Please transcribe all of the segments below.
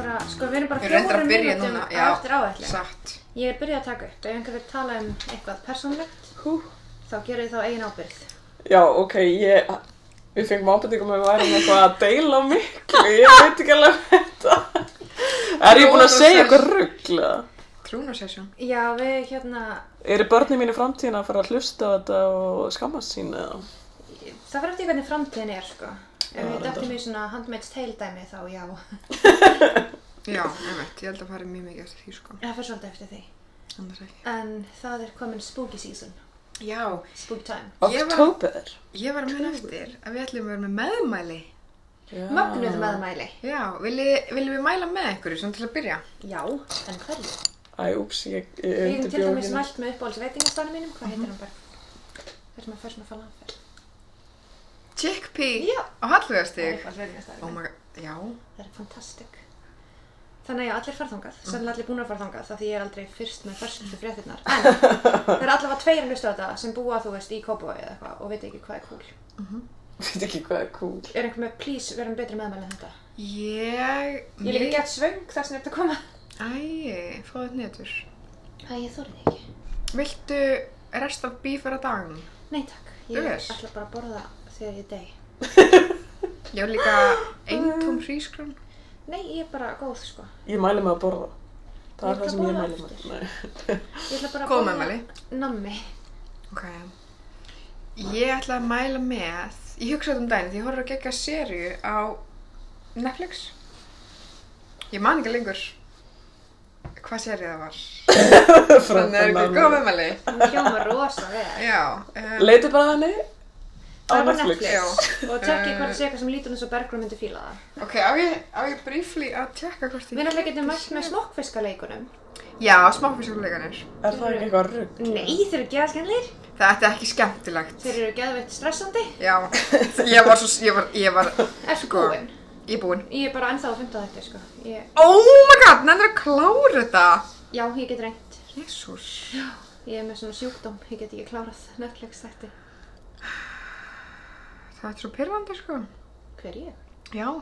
einu bara Við erum reyndar fjórum að byrja mínútum núna, á já, eftir um áætlun. satt. Ég er byrjað að taka upp. Ef einhver vil tala um eitthvað persónlegt, Hú. þá gerur ég þá eigin ábyrgð. Já, ok, ég, við fengum ábyrtingum að við værum eitthvað að deila miklu, ég veit ekki alveg um þetta. Er ég búin að segja eitthvað ruggla? Trúnarsessjón. Já, við hérna, Eru börnum mínu framtíðin að fara að hlusta á þetta og skammast sín eða? það fyrir eftir hvernig framtíðin er, sko. Ef Já, við reyndar. dættum í svona handmaid's tale dæmi, þá já. Já, einmitt, ég held að fara mjög mikið eftir því sko, Það fyrir svolítið eftir því. annars ekki. En það er komin spooky season. Já, Spooky time. Ég var- Oktober? ég var að mun eftir að við ætlum að vera með meðmæli. Já. Mögnuð meðmæli. Já, viljið viljum við mæla með einhverju svona til að byrja? Já, en hverju? Æ, úps, ég, ég Ég hef til undirbjó hérna. dæmis ekki neitt. mælt með uppáhalds veitingastanum mínum. Hvað Mhm. heitir hann bara? Það sem að fyrir sem að falla anfell. Chickpea Já. á hallvegasteg. Uppáhalds veitingastanum Oh mínum. my god, já. Það er fantastik. Þannig að já, allir farþangað, sennilega allir búin að farþangað, það því ég er aldrei fyrst með fyrstu fréttinnar. En það eru allavega tveir að hlusta á þetta sem búa, þú veist, í Kópavogi eða eitthvað og veit ekki hvað er cool. Veit ekki hvað er cool. Er einhver með, please, verðum betri meðmæli en þetta. Ég... Ég er líka gett svöng þar sem þetta koma. Æ, fóðu þetta netur. Æ, ég þorði því ekki. Viltu rest af bífara dagum? Nei takk, ég Yes. ætla bara að borða þegar ég dey. Ég var líka eintóm hrísgrón. Nei, ég er bara góð, sko. Ég mæli mig að borða. Það Ég er það ætla sem ég að mæli borða mig. aftur. Nei. Ég ætla bara að Góð borða meðmæli. nammi. Ok. Ég ætla að mæla með, ég hugsaði um daginn því ég horfði að gegga sériu á Netflix. Ég man ekki lengur hvað sérið það var. Þannig er ykkur góð meðmæli. Hún hljóma rosa vel. Já. Um, Leiti bara henni á Það var Netflix. Netflix. já. Og tekki hvort sé eitthvað sem lítur eins og Bergrún myndi fíla það. Ok, á ég, á ég briefly að tjekka hvort ég... Við náttúrulega getum mætt með smokkfiskaleikunum. Já, smáfískuleikanir. Er það ekki eitthvað rugg? Nei, þeir eru geðskennlir. Það er ekki skemmtilegt. Þeir eru geðveitt stressandi. Já, ég var svo, ég var, ég var, Ertu Sko. búinn? ég er búinn. Ég er bara ennþá að fymta þetta, sko. Ég, Oh my god, nefnir að klára þetta. já, ég get reynd. Jésús. Ég er með svona sjúkdóm. Ég get ekki klárað Netflix þætti. Það er svo pyrrandi, sko. Hver er ég? Já.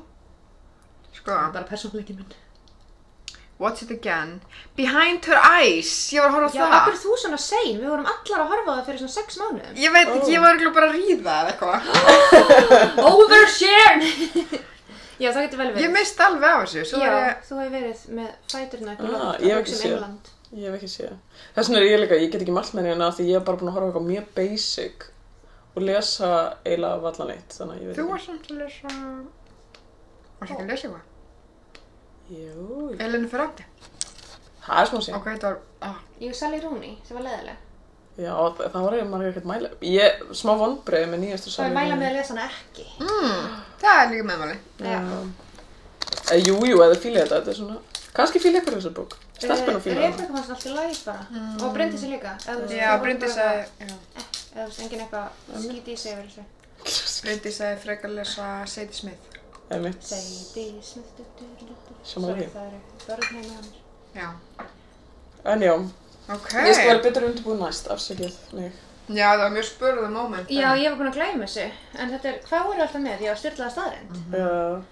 Sko, Það er bara persónleikin minn. Watch It Again. Behind Her Eyes, ég var að horfa á Já, það. af hverju þú svona sein? Við vorum allar að horfa á það fyrir svona sex mánuðum. Ég veit ekki, ég var örugglega bara að ríða eða eitthvað. Overshare! já, það getur vel verið. Ég misti alveg af þessu, svo Já, var ég... þú hefur verið með fæturna upp í Ah, loft ég hef og ekki hugsa um séð. England. Ég hef ekki séð. Þess vegna er ég líka, ég get ekki mælt með henni að því ég er bara búin að horfa á eitthvað mjög basic og lesa eiginlega vallan eitt, þannig að ég veit Þú ekki. var samt að lesa... Varst ekki að lesa eitthvað? Jú, ég- Elinu Ferrandi. það er smá sín. Ok, þetta var... Ah, Jú, Sally Rooney, sem var leðileg. Já, það, það var eiginlega ekkert mæla. Ég, smá vonbreið með nýjastu Svo ég mæla með að lesa hana ekki. Hmm. það er líka meðmáli. Já. Eh, Jú, jú, eða fílið þetta, þetta er svona, kannski fílið ykkur þessu bók. Eh, Stelpun og fílið Rebeka fannst alltaf læg bara. Og Bryndi sig líka. Ef þú veist, Já, þú voru Bryndi bara- sagði... Ef þú veist, enginn eitthvað skýti í sig yfir þessu. það. Bryndi sagði frekar að lesa Sadie Smith. Það er mitt. Seiti, snuttu, duttu, duttu. Sammála því. Það eru börn heima hjá mér. Já. En já, Ok. ég skal vera betur undirbúið næst, afsakið mig. Já, það var mjög spurðu moment. en Já, ég var búin að glæma þessu. En þetta er, hvað voru alltaf með? Ég var styrlaða staðrind. Já.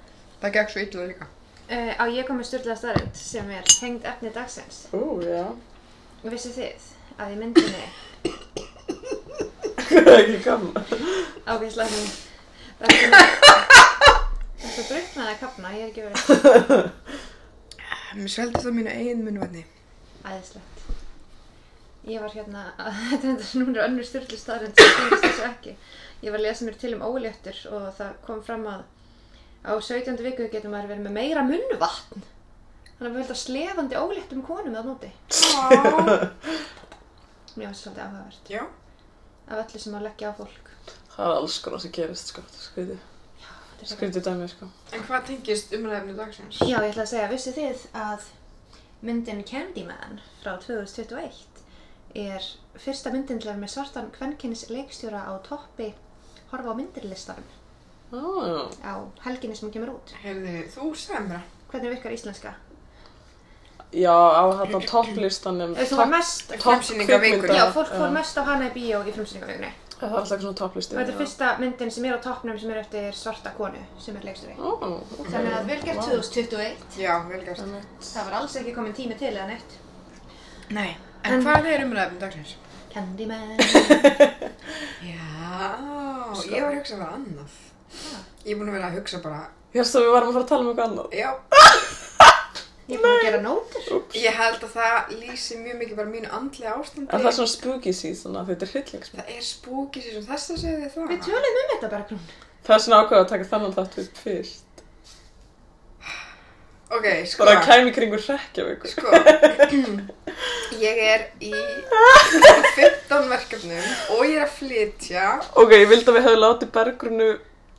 Það gekk svo illa líka. Uh, á ég kom með styrlaða staðrind sem er tengd efni dagsins. Ú, já. Vissu þið að í myndinni Það er ekki gaman. Ok, slag hún. Þetta er brutnaði að kapna, ég er ekki verið Mér sveldi það mínu eigin munvætni. æðislegt. Ég var hérna, að- þetta er þetta núna önnur styrlu staðrind sem finnst þessu ekki. Ég var að lesa mér til um óléttur og það kom fram að á 17. viku getur maður verið með meira munnvatn. Þannig að við höldum slefandi óléttum konum að núti. Mér finnst svolítið áhugavert. Já. Af öllu sem að leggja á fólk. Það er alls konar sem gerist, sko. Skriði, Þetta er svo skriði dæmi, sko. En hvað tengist umræðinu dagsins? Já, ég ætla að segja, vissu þið að myndin Candyman frá 2021 er fyrsta myndin til að vera með svartan kvennkynnis leikstjóra á toppi horfa á myndirlistanum Ah, á helginni sem hún kemur út. Heyrðu, þú segð mér það. Hvernig virkar íslenska? já, á þarna topplistanum. Ef þú var mest, Topp Frumsýningar kvikmynda. vikunnar. já, fólk fór mest á hana í bíó í frumsýningavegunni. Það er alltaf svona Og topplisti. þetta er fyrsta myndin sem er á toppnum sem er eftir svarta konu sem er leikstjóri. Ó, ok. Þannig að vel gert 2021. Já, vel gert. Einmitt. Það var alls ekki komin tími til eða neitt. Nei. En, hvað er umræðum dagsins? Candyman. Já, ég var að hugsa bara annað. Ég er búin að vera að hugsa bara, Ég held að við varum að fara að tala um eitthvað annað. já, Ég er búin að gera nótur. ég held að það lýsi mjög mikið bara mínu andlega ástandi. En það er svona spooky season að þetta er hryllingsmynd. Það er spooky sér sem þess að segja þið það. Við tölum um þetta bara grún. Það er svona ákveð að taka þannan þátt við fyrst. Ok, sko. Bara að kæmi kringur hrekkja við ykkur. Sko, ég er í 15 verkefnum og ég er að flytja. Ok, ég vildi að við hefði látið bergrunu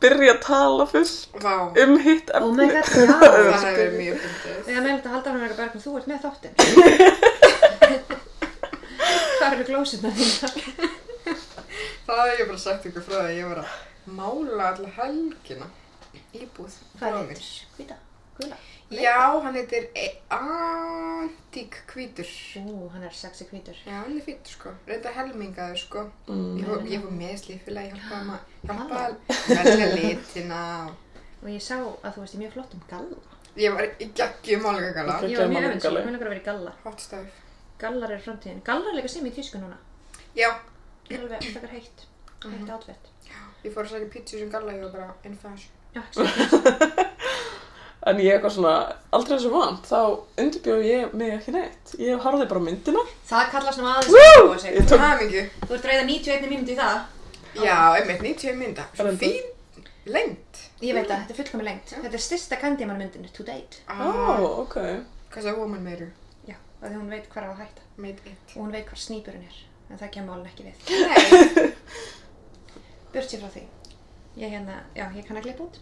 byrja að tala fyrst Vá, um hitt efni. Oh my god, já. Það það hefur er verið spooky. mjög fyndið. Við erum meðlut að halda hann að vera bara grún. Þú ert með þáttinn. Hvað eru glósirna þína? Það hef ég bara sagt ykkur frá því að ég var að mála alla helgina. Íbúð. Hvað bróður er míns. þetta? Hvita? Gula? Já, hann heitir e Antík Hvítur. Ú, hann er sexy hvítur. Já, hann er fýtur sko. Reynda helmingaður sko. Mm. Ég fór, ég fór með í slífilega, ég hjálpaði maður, hjálpaði að velja litina. Og ég sá að þú veist ég mjög flott um galla. Ég var í geggjum álugagala. Ok. Ég var mjög gaman um öfins, ég gallu. mun að vera í galla. Hot stuff. Gallar er framtíðin. Gallar er líka sem í tísku núna. Já, Það er alveg frekar heitt. Mhm. Heitt átfett. Ég fór að sækja pítsu sem galla, ég var bara in fashion. Já, ekki svo. En ég eitthvað svona, aldrei þessu vant, þá undirbjóð ég mig ekki neitt. Ég horfði bara á myndina. Það kallast nú aðeins Woo! að búa sig. Ég tók, Það er mikið. Þú ert reyða 91 mínúti í það. Já, einmitt, 90 mynda. Svo Reyndar. fín lengt. Ég veit það, þetta er fullkomi lengt. Þetta er styrsta Candyman myndin to date. ó, ok. Hvað sagði Ah, woman meiru? Já, af því hún veit hvar á að hætta. Made it. Og hún veit hvar snýpurinn er. En það kemur málun ekki við. Nei. Burt sér frá því. Ég hérna, já, ég kann að klippa út.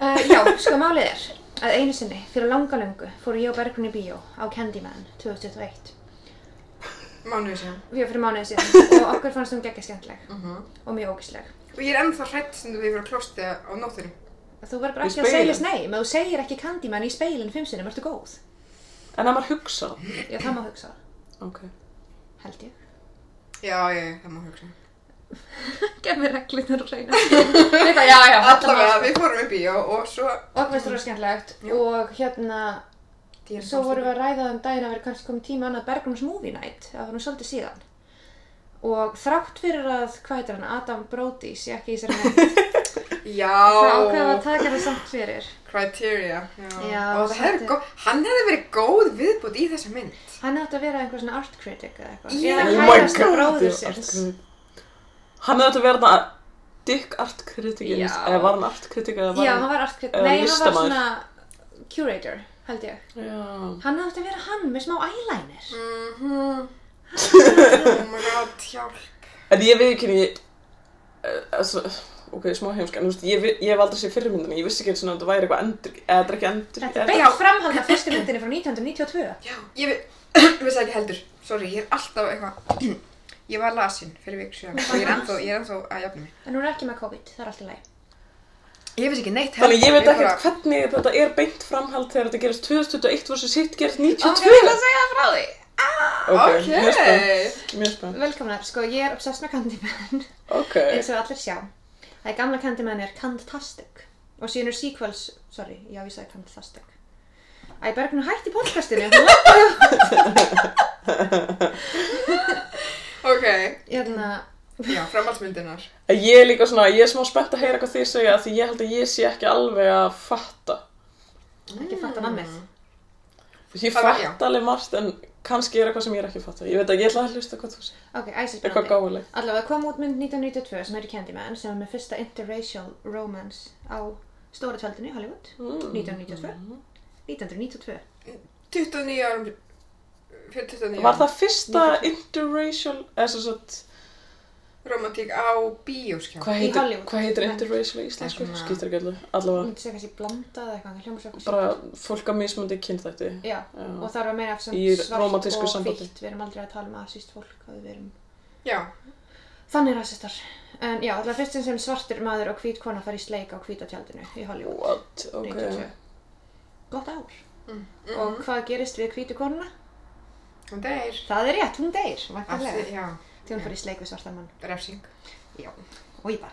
Uh, já, sko málið er að einu sinni, fyrir langa löngu, fóru ég og Bergrun í bíó á Candyman 2021. Mánuðu síðan. Við fyrir mánuðið síðan og okkur fannst hún geggja skemmtleg Uh og mjög ógisleg. Og ég er ennþá hrætt sem við fyrir að klósti á nóttinu. Þú verður bara Í ekki að speglinum. segjast nei, með þú segir ekki Candyman í speilin fimm sinum, ertu góð? En að maður hugsa. Já, það má hugsa það, Ok. held ég. Já, ég, það má hugsa. Gef mér reglirnar og reyna. Þetta, já, já, Allavega, við fórum í bíó og svo... Og mér stóður skemmtlegt Já. og hérna, svo vorum við að ræða um daginn að vera kannski komið tíma annað Bergrums Movie Night, það var nú svolítið síðan. Og þrátt fyrir að, hvað heitir hann, Adam Brody sé ekki í sér mynd, þá ákveðum við að Já, taka það samt fyrir. criteria. Já, og það hefði svolítið. góð, hann hefði verið góð viðbútt í þessa mynd. Hann átti að vera einhver svona art critic eða eitthvað. Já. Eða Oh my kærasta ég var bróður allt síns. grunn. Hann hefði þetta verið að Dick Art Criticins, Já. eða var hann Art Critic eða var Já, hann var art critic. eða Nei, hann var listamaður. svona curator, held ég. Já. Hann átti að vera hann með smá eyeliner. Mhm. Oh my god, hjálp. En ég við ekki, ég, eh, altså, ok, smá heimsk, en þú veist, ég, vi- ég hef aldrei séð fyrirmyndina, ég vissi ekki eins og þetta væri eitthvað endur, eða þetta er ekki endur. Þetta er er- beint framhald af fyrstu myndinni frá 1992. Já, ég vi- vissi ekki heldur. Sorry, ég er alltaf eitthvað. Ég var lasin fyrir viku síðan og ég er ennþá, ég er ennþá að jafna mig. En hún er ekki með COVID, það er allt í lagi. Ég vissi ekki neitt Þannig ég veit bara- ekkert hvernig þetta er beint framhald þegar þetta gerist 2021 versus hitt gerist ég vil 92. að segja það frá því. Ok, mjög spennt, Ok. mjög spennt. Ah! Velkomnar, sko, ég er obsessed með Candyman, Ok, eins og allir sjá. Það er gamla Candyman er Cantastic. Og síðan er sequels, sorry, já, ég sagði Cantastic. Æ, Bergrun, hætti podcastinu, hún Ok. hérna, Já, framhaldsmyndinar. En ég er líka svona, ég er smá spennt að heyra hvað þið segja af því ég held að ég sé ekki alveg að fatta. ekki fatta nammið. Ég Það var- já. fatt alveg margt en kannski er eitthvað sem ég er ekki að fatta. Ég veit að ég ætla að hlusta hvað þú segir. Ok, æsispennandi. Eitthvað gáðilegt. Allavega kom út mynd 1992 sem heitir Candyman sem var með fyrsta interracial romance á stóra tveldinu í Hollywood Mm. 1992 1992 29 árum fyrir 29 Var árum. það fyrsta interracial, eða svo svona, Romantík á bíóskjá. hvað Í heitir, Hollywood. hvað heitir interracial í íslensku? Svona- Skýttur ekki alveg, allavega. Hún sé kannski blanda eða eitthvað, það hljómar svo Bara fólk að mismundi kynþætti. Já, og það var meira af sem Í svart rómantísku og sambandi. fítt Við erum aldrei að tala um asist fólk að við erum Já. Þannig rasistar En já, allavega fyrst sinn sem svartur maður og hvít kona fari í sleik á hvíta tjaldinu í Hollywood What? Ok. 1992 Gott ár mhm. Og hvað gerist við hvítu konuna? Hún deyr. Það er rétt, hún deyr, Af vantarlega því- Já. þegar hún fór í sleik við svartan mann. Refsing. Já, og ég bara.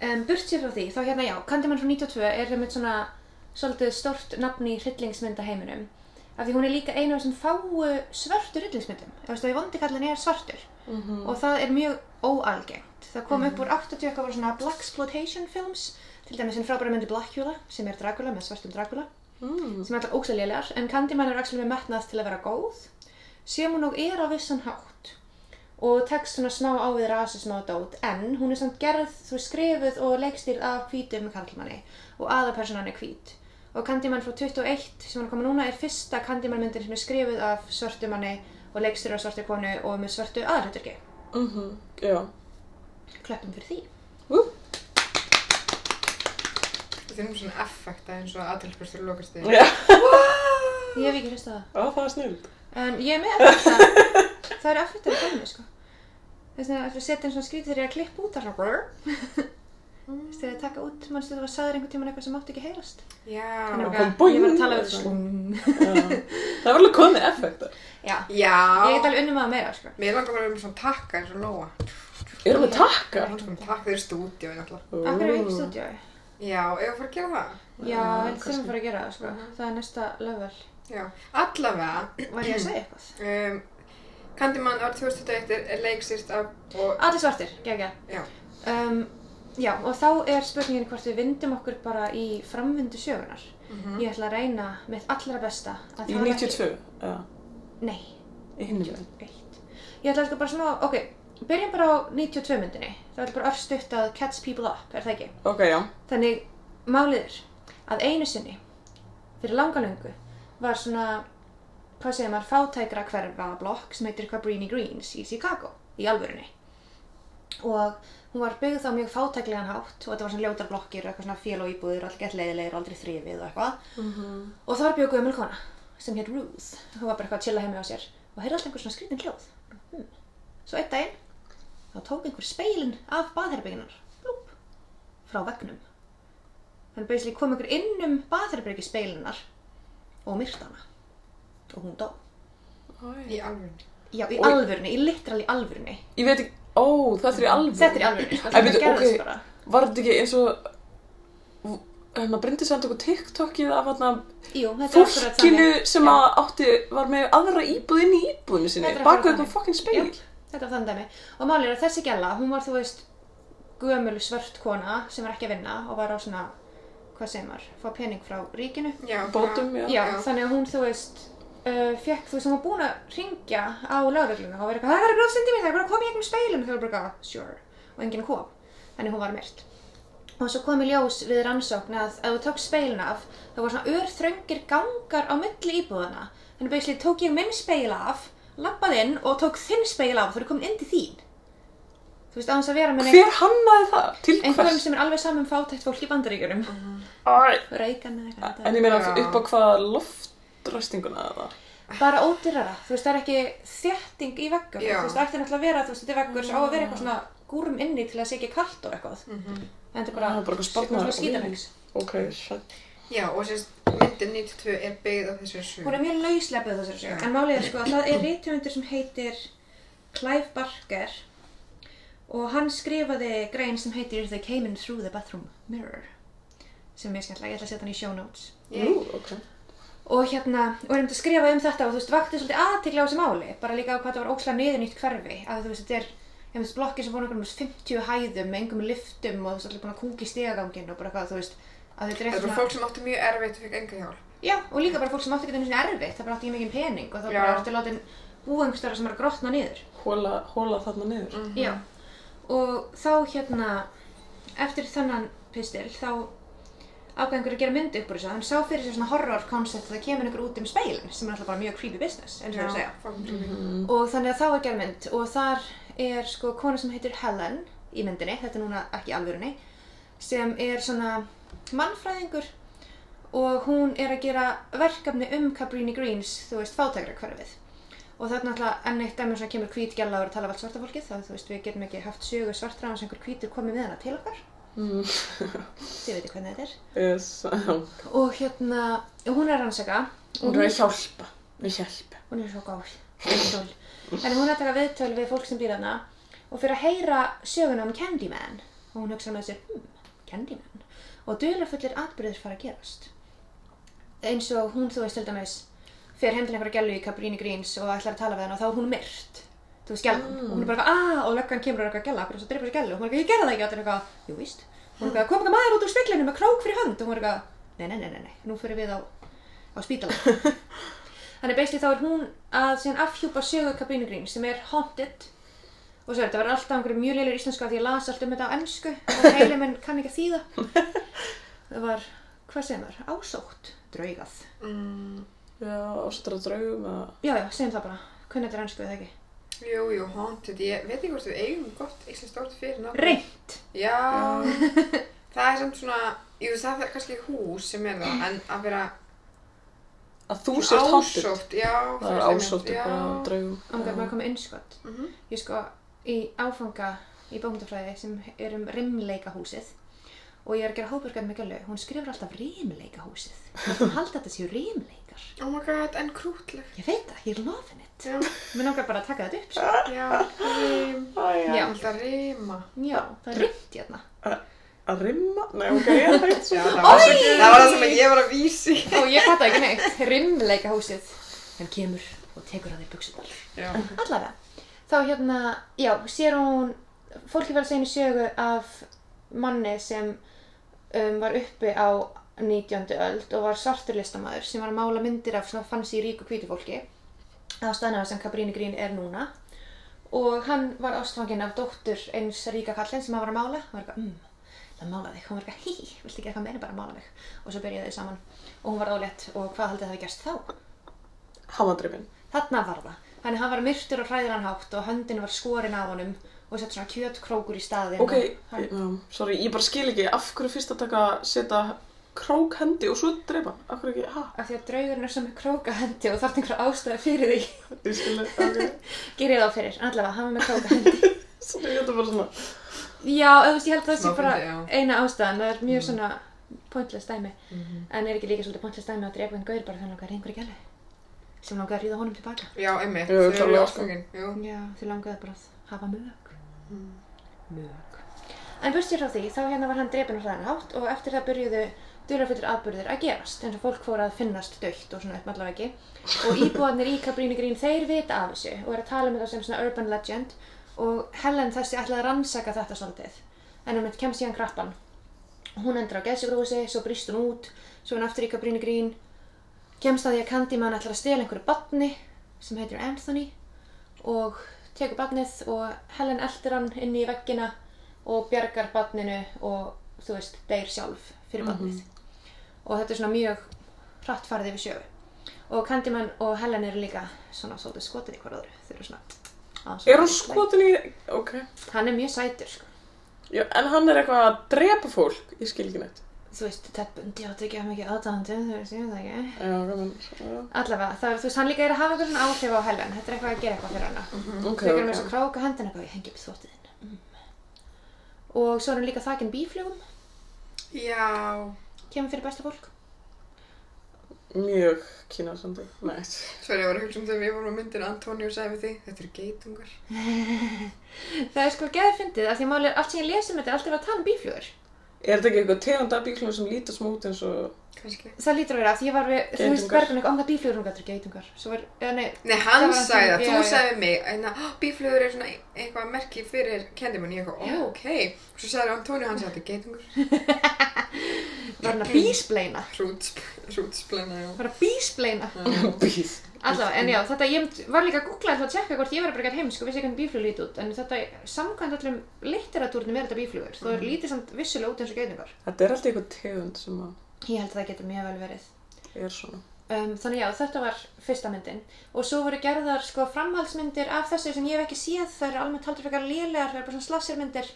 Um, burt sér frá því, þá hérna já, Candyman frá 92 er einmitt svona svolítið stórt nafn í hryllingsmynda heiminum. Af því hún er líka einu af þessum fáu svörtu hryllingsmyndum. Ef veist að við vondi kallin er svartur. Mhm. Og það er mjög óalgengt. Það kom upp úr 80 eitthvað voru svona Black Exploitation films. Til dæmis en frábæra myndi Blackula, sem er Dracula með svartum Dracula. Mm. Sem er alltaf óksalegar. En Candyman er actually með metnað til að vera góð. Sem hún og er á vissan hátt. Og tekst svona smá á við rasism og dót. En hún er samt gerð, þú veist, skrifuð og leikstýrð af hvítum karlmanni. Og aðapersonan er hvít. Og Candyman frá 21 sem hann koma núna er fyrsta Candyman myndin sem er skrifuð af svörtum manni og leikstýrð af svörtu konu og með svörtu aðrætturki. Mhm. Já. Klöppum fyrir því. Ú. Þetta er um svona effekta eins og aðtilspurstur lokast þig. Já. Ég hef ekki hlustað á það. Á, það er snild. En ég er með effekta. það eru effekta í konu, sko. Þess vegna eftir að setja einn svona skrítið þegar ég er að klippa út þarna. brrr. Þú veist, þegar ég taka út, mannstu þú var sagður einhvern tíman eitthvað sem mátti ekki heyrast. Já. Þannig kom að ég var að tala við Ah, sko. boing. þessu. Það var alveg komið effektar. Já, Ah. ég get Já. alveg unnum að það meira, sko. Mér langar bara um svona takka eins og Lóa. Erum við takka? Hún sko um takka þeir stúdíu náttúrulega. Akkur er upp í stúdíói. Já, ef að fara að gera það. Já, Já, við þurfum Ah, kannski. að fara að gera það, sko. Það er næsta level. Já. Allavega, Var ég að segja eitthvað? um, Candyman árið 2021 er- er leiksýrt af og... Allir svartir, gegja. Já. Um, já, og þá er spurningin hvort við vindum okkur bara í framvindu sögunar. Ég ætla að reyna mitt allra besta að Mhm. Í hafa 92. Já. Ekki, nei, Í hinum. 91. Ég ætla sko bara smá, ok, byrjum bara á 92 myndinni. Það er bara örstutt að catch people up, er það ekki? Ok, já. Þannig, málið er að einu sinni, fyrir langa löngu, var svona, hvað segir maður, fátækra hverfa blokk sem heitir eitthvað Breeny Greens í Chicago, í alvörunni. Og hún var byggð á mjög fátæklegan hátt og þetta var svona ljótar blokkir, eitthvað svona fél og íbúður, allir gett leiðilegir og aldrei þrifið og eitthvað. Og þar bjóð gömul kona sem hér Ruth, hún var bara eitthvað að chilla heima á sér og heyrði alltaf einhver svona skrítin hljóð. Hmm. Svo einn daginn, þá tók einhver speilin af baðherbygginar, blúp, frá veggnum. Þannig basically kom einhver inn um baðherbyggi speilinar og myrta hana. Og hún dó. Í alveg. Já, í Og- alvörunni, í literal í alvörunni. Ég veit ekki, ó, þetta er í alveg. Þetta er í alvörunni, sko, Æ, þetta byrju, gerðist ok. bara. Var þetta ekki eins og, hérna, Bryndis sendi okkur TikTokið af hérna Jú, þetta er akkurat fólkinu þannig. sem Já. að átti, var með aðra íbúð inn í íbúðinu sinni, Þetta er baka akkurat eitthvað þannig. fokkin speil. Já, þetta var þann dæmi. Og málið er að þessi gæla, hún var, þú veist, gömul svört kona sem var ekki að vinna og var á svona, hvað segir maður, fá pening frá ríkinu. Já, Bótum, já. Já, þannig að hún, þú veist, uh, fekk, þú veist, hún var búin að ringja á lögregluna og var eitthvað, það er bara sendið mér, það er bara að koma í eignum speilum. Þau var bara, eitthvað, "Ah, sure, og enginn kom. Þannig hún var myrt. Og svo kom í ljós við rannsókn að ef þú tókst speilin af, þá var svona örþröngir gangar á milli íbúðana. Þannig basically tók ég minn speil af, lappað inn og tók þinn speil af og þú er komin inn til þín. Þú veist, á þess að vera með Hver hannaði það? Til einhverjum hvers? sem er alveg saman fátækt fólk í bandaríkjunum. Æ. Reagan eða eitthvað. þetta En ég meina Já. upp á hvað loftræstinguna eða? bara ódýrara, þú veist, það er ekki þétting í veggur, Já. þú veist, það ætti náttúrulega að vera, þú veist, þetta er veggur sem á að vera eitthvað svona gúrum inni til að sé ekki kalt og eitthvað en þetta er bara, Það er bara eitthvað sparnar- svona skítanlegs Ok, shit. Já, og sérst, myndin 92 er byggð á þessu sögu. hún er mjög lauslega byggð á þessari sögu, en málið er sko að það er rítumundur sem heitir Clive Barker og hann skrifaði grein sem heitir They came in through the bathroom mirror sem er mjög skemmtilega, ég ætla að setja hann í show notes Nú, ok. og hérna, og erum þetta að skrifa um þetta og þú veist, vakti svolítið aðtikla á þessu máli bara líka á hvað þetta var ókslega niðurnýtt hverfi að þú veist, þetta er, ég veist, blokkir sem voru einhverjum 50 hæðum með einhverjum liftum og þú veist, allir búin að kúki stegagangin og bara eitthvað, þú veist að þetta er Það eitthvað er bara fólk sem átti mjög erfitt og fekk enga hjálp. já, og líka bara fólk sem átti ekki þessu erfitt það bara átti ekki mikið pening og það Já. bara ertu látin búa einhverstara sem er að grotna niður Hóla, hóla þarna niður. Já, og þá hérna, eftir þennan pistil, þá ákveðingur að gera mynd upp úr þessu, hann sá fyrir sér svona horror concept að það kemur einhver út um speilin sem er alltaf bara mjög creepy business, eins og það að segja. fólk sem mm Og þannig að þá er gerð mynd og þar er sko kona sem heitir Helen í myndinni, þetta er núna ekki í alvörunni, sem er svona mannfræðingur og hún er að gera verkefni um Cabrini Greens, þú veist, fátækra hverfið. Og það er náttúrulega enn eitt dæmi sem kemur hvít gæla og er að tala af allt svarta fólkið, þá þú veist, við getum ekki haft sögu svartra án sem einhver hvítur komið með hana til okkar. Mm. Þið veitir hvernig þetta er. Yes. Og hérna, og hún er að rannsaka. og Mhm. Hún er að hjálpa. Við hjálpa. Hún er svo gáð. viðtöl. En hún er að taka viðtöl við fólk sem býr hana og fyrir að heyra söguna um Candyman. Og hún hugsa með sér, hmm, Candyman. Og dularfullir atbyrðir fara að gerast. Eins og hún, þú veist, til dæmis, fer heim til einhverja gælu í Cabrini Greens og ætlar að tala við hana og þá er hún myrt. Þú veist, gælan. Og hún er bara eitthvað, aaa, og löggan kemur og er eitthvað gæla, og svo dreipur þessi gælu. Og hún er eitthvað, ég gerði það ekki, og allir eitthvað, jú víst. Hún er eitthvað, kom eitthvað maður út úr speklinu með krók fyrir hönd. Og hún er eitthvað, nei, nei, nei, nei, nei, nú fyrir við á, á spítala. Þannig basically þá er hún að síðan afhjúpa sögu Cabrini Greens sem er haunted. Og svo er þetta verður alltaf einhverju mjög leilur íslenska því ég las allt um þetta á ennsku og heilin minn kann ekki að þýða. Það var, hvað segir maður, ásótt, draugað. Mm. Já, ástra draugum að... Já, já, segjum það bara. Hvernig þetta er ennsku eða ekki? Jú, jú, haunted. Ég veit ekki hvort við eigum gott íslenskt orð fyrir náttúrulega. Reynt! Já, það er samt svona, jú það er kannski hús sem er það, en að vera Að þú sért hóttir. ásótt, já. Það er ásóttur bara á draugum. Ángar maður komið innskott. Mhm. Ég sko í áfanga í bókmyndafræði sem er um rimleikahúsið og ég er að gera hópurkað með gælu. Hún skrifur alltaf rimleikahúsið. Hún haldi að þetta séu rimleikar. Oh my god, en krútlegt. Ég veit það, ég er lofin it. Já, Mér langar bara að taka þetta upp. sko. já, rím, Æja. Já. alltaf ríma. Já, það er rimt hérna. Að rimma? Nei, ok, ég veit Já, svo. það var, svo, Oj! það var það sem að ég var að vísi. Og ég fatta ekki neitt. Rimleika húsið. Hann kemur og tekur að þér buksunar. Já, Allavega. Þá hérna, já, sér hún, fólki verður að segja henni sögu af manni sem um, var uppi á 19. öld og var svartur listamaður sem var að mála myndir af svona fanns í ríku hvítu fólki á staðnaða sem Cabrini Green er núna og hann var ástfanginn af dóttur eins ríka kallinn sem hann var að mála hann var eitthvað, mm, það mála þig, hann var eitthvað, hí, hí, viltu ekki eitthvað meira bara að mála mig og svo byrjuðu þau saman og hún var ólétt og hvað haldið það hafi gerst þá? Hamadriminn. Þarna var það. Þannig hann var myrtur og hræðilan hátt og höndin var skorin af honum og sett svona kjötkrókur í staðinn. Ok, og hann- já, sorry, ég bara skil ekki. Af hverju fyrst að taka, setja krók hendi og svo dreipa? Af hverju ekki, ha? Af því að draugurinn er sem með krókahendi og þarf einhverja ástæði fyrir því. Ég skil ekki, ok. Ger ég það fyrir. En Allavega, hann var með krókahendi. Sorry, ég ætla bara svona. já, þú veist, ég held að það sé Smáfindi, bara já. eina ástæðan. Það er mjög svona pointless dæmi. En er ekki líka svolítið pointless dæmi að drepa einn gaur bara þannig að einhverja gælu sem langaði að ríða honum tilbaka. já emmi, Jú, þau eru klárlega, sko. ástfangin. Jú, Já, þau langaði bara að hafa mög. Mög. En burtsér frá því, þá hérna var hann drepinn á hraðan hátt og eftir það byrjuðu dularfullir atbyrðir að gerast, eins og fólk fór að finnast dögt og svona upp allavegi. Og íbúarnir í Cabrini Green, þeir vita af þessu og eru að tala um þetta sem svona urban legend og Helen þessi ætlaði að rannsaka þetta svolítið. En hún kemst í hann krappan. Hún endur á geðsugrósi, svo brýst hún út, svo er hún aftur í Cabrini Green, kemst að því að Candyman ætlar að stela einhverju batni sem heitir Anthony og tekur barnið og Helen eldir hann inn í veggina og bjargar barninu og þú veist, deyr sjálf fyrir barnið og þetta er svona mjög hratt farið yfir sjöfu og Candyman og Helen eru líka svona svolítið skotin í hver öðru þau eru svona aðeins Er hún svona- skotin í... Ok. hann er mjög sætur sko. Já, en hann er eitthvað að drepa fólk. Ég skil ekki neitt. þú veist, Ted Bundy átti ekki að mikið aðdáðandum þú veist, ég veit það ekki Já, ok, menn. já. allavega, það er, þú veist, hann líka er að hafa eitthvað svona áhrif á Helen þetta er eitthvað að gera eitthvað fyrir hana Ok, Frekar með svo ok. kráka hendina eitthvað, ég hengi upp þvottiðinn. Mm. Og svo er hann líka þakinn bíflugum, já, kemur fyrir besta fólk. Mjög kynasandi. Næst. svo er ég var að hugsa um þegar við vorum á myndir Antonio sagði við því, þetta eru geitungar. Það er sko geðfyndið af því að máli, allt sem ég lesi um þetta er alltaf að tala um bíflugur. Er þetta ekki eitthvað tegund af bíklum sem lítur smá út eins og... Kannski. Það lítur að vera af því ég var við, þú veist, Geitungar. bergun eitthvað, ánga bíflugur, hún gætur geitungar. Svo var, eða nei, Nei, Það hann var sagði hann sem- það, já, þú já. sagði mig, en að "Ó, bíflugur er svona eitthvað merki fyrir kendimann, ég eitthvað, Já. ó, ok. Svo sagði Antonio, hann sagði þetta er geitungur. var hann að bíspleina. Hrútsp- Hrútsplæna, já. Var að bíspleina. Mm. Bíð. Alltaf, en já, þetta, ég mynd- var líka að googla þetta að tjekka hvort ég var að bregja heim, sko, vissi ekki hvernig bíflugur lít út, en þetta, samkvæmt öllum litteratúrnum er þetta bíflugur, þó er lítið samt vissulega út eins og geitungar. Þetta er alltaf eitthvað tegund sem að Ég held að það getur mjög vel verið. er svona. Um, þannig já, þetta var fyrsta myndin og svo voru gerðar sko framhaldsmyndir af þessu sem ég hef ekki séð, það eru almennt haldur frekar lélegar, það eru bara svona slassermyndir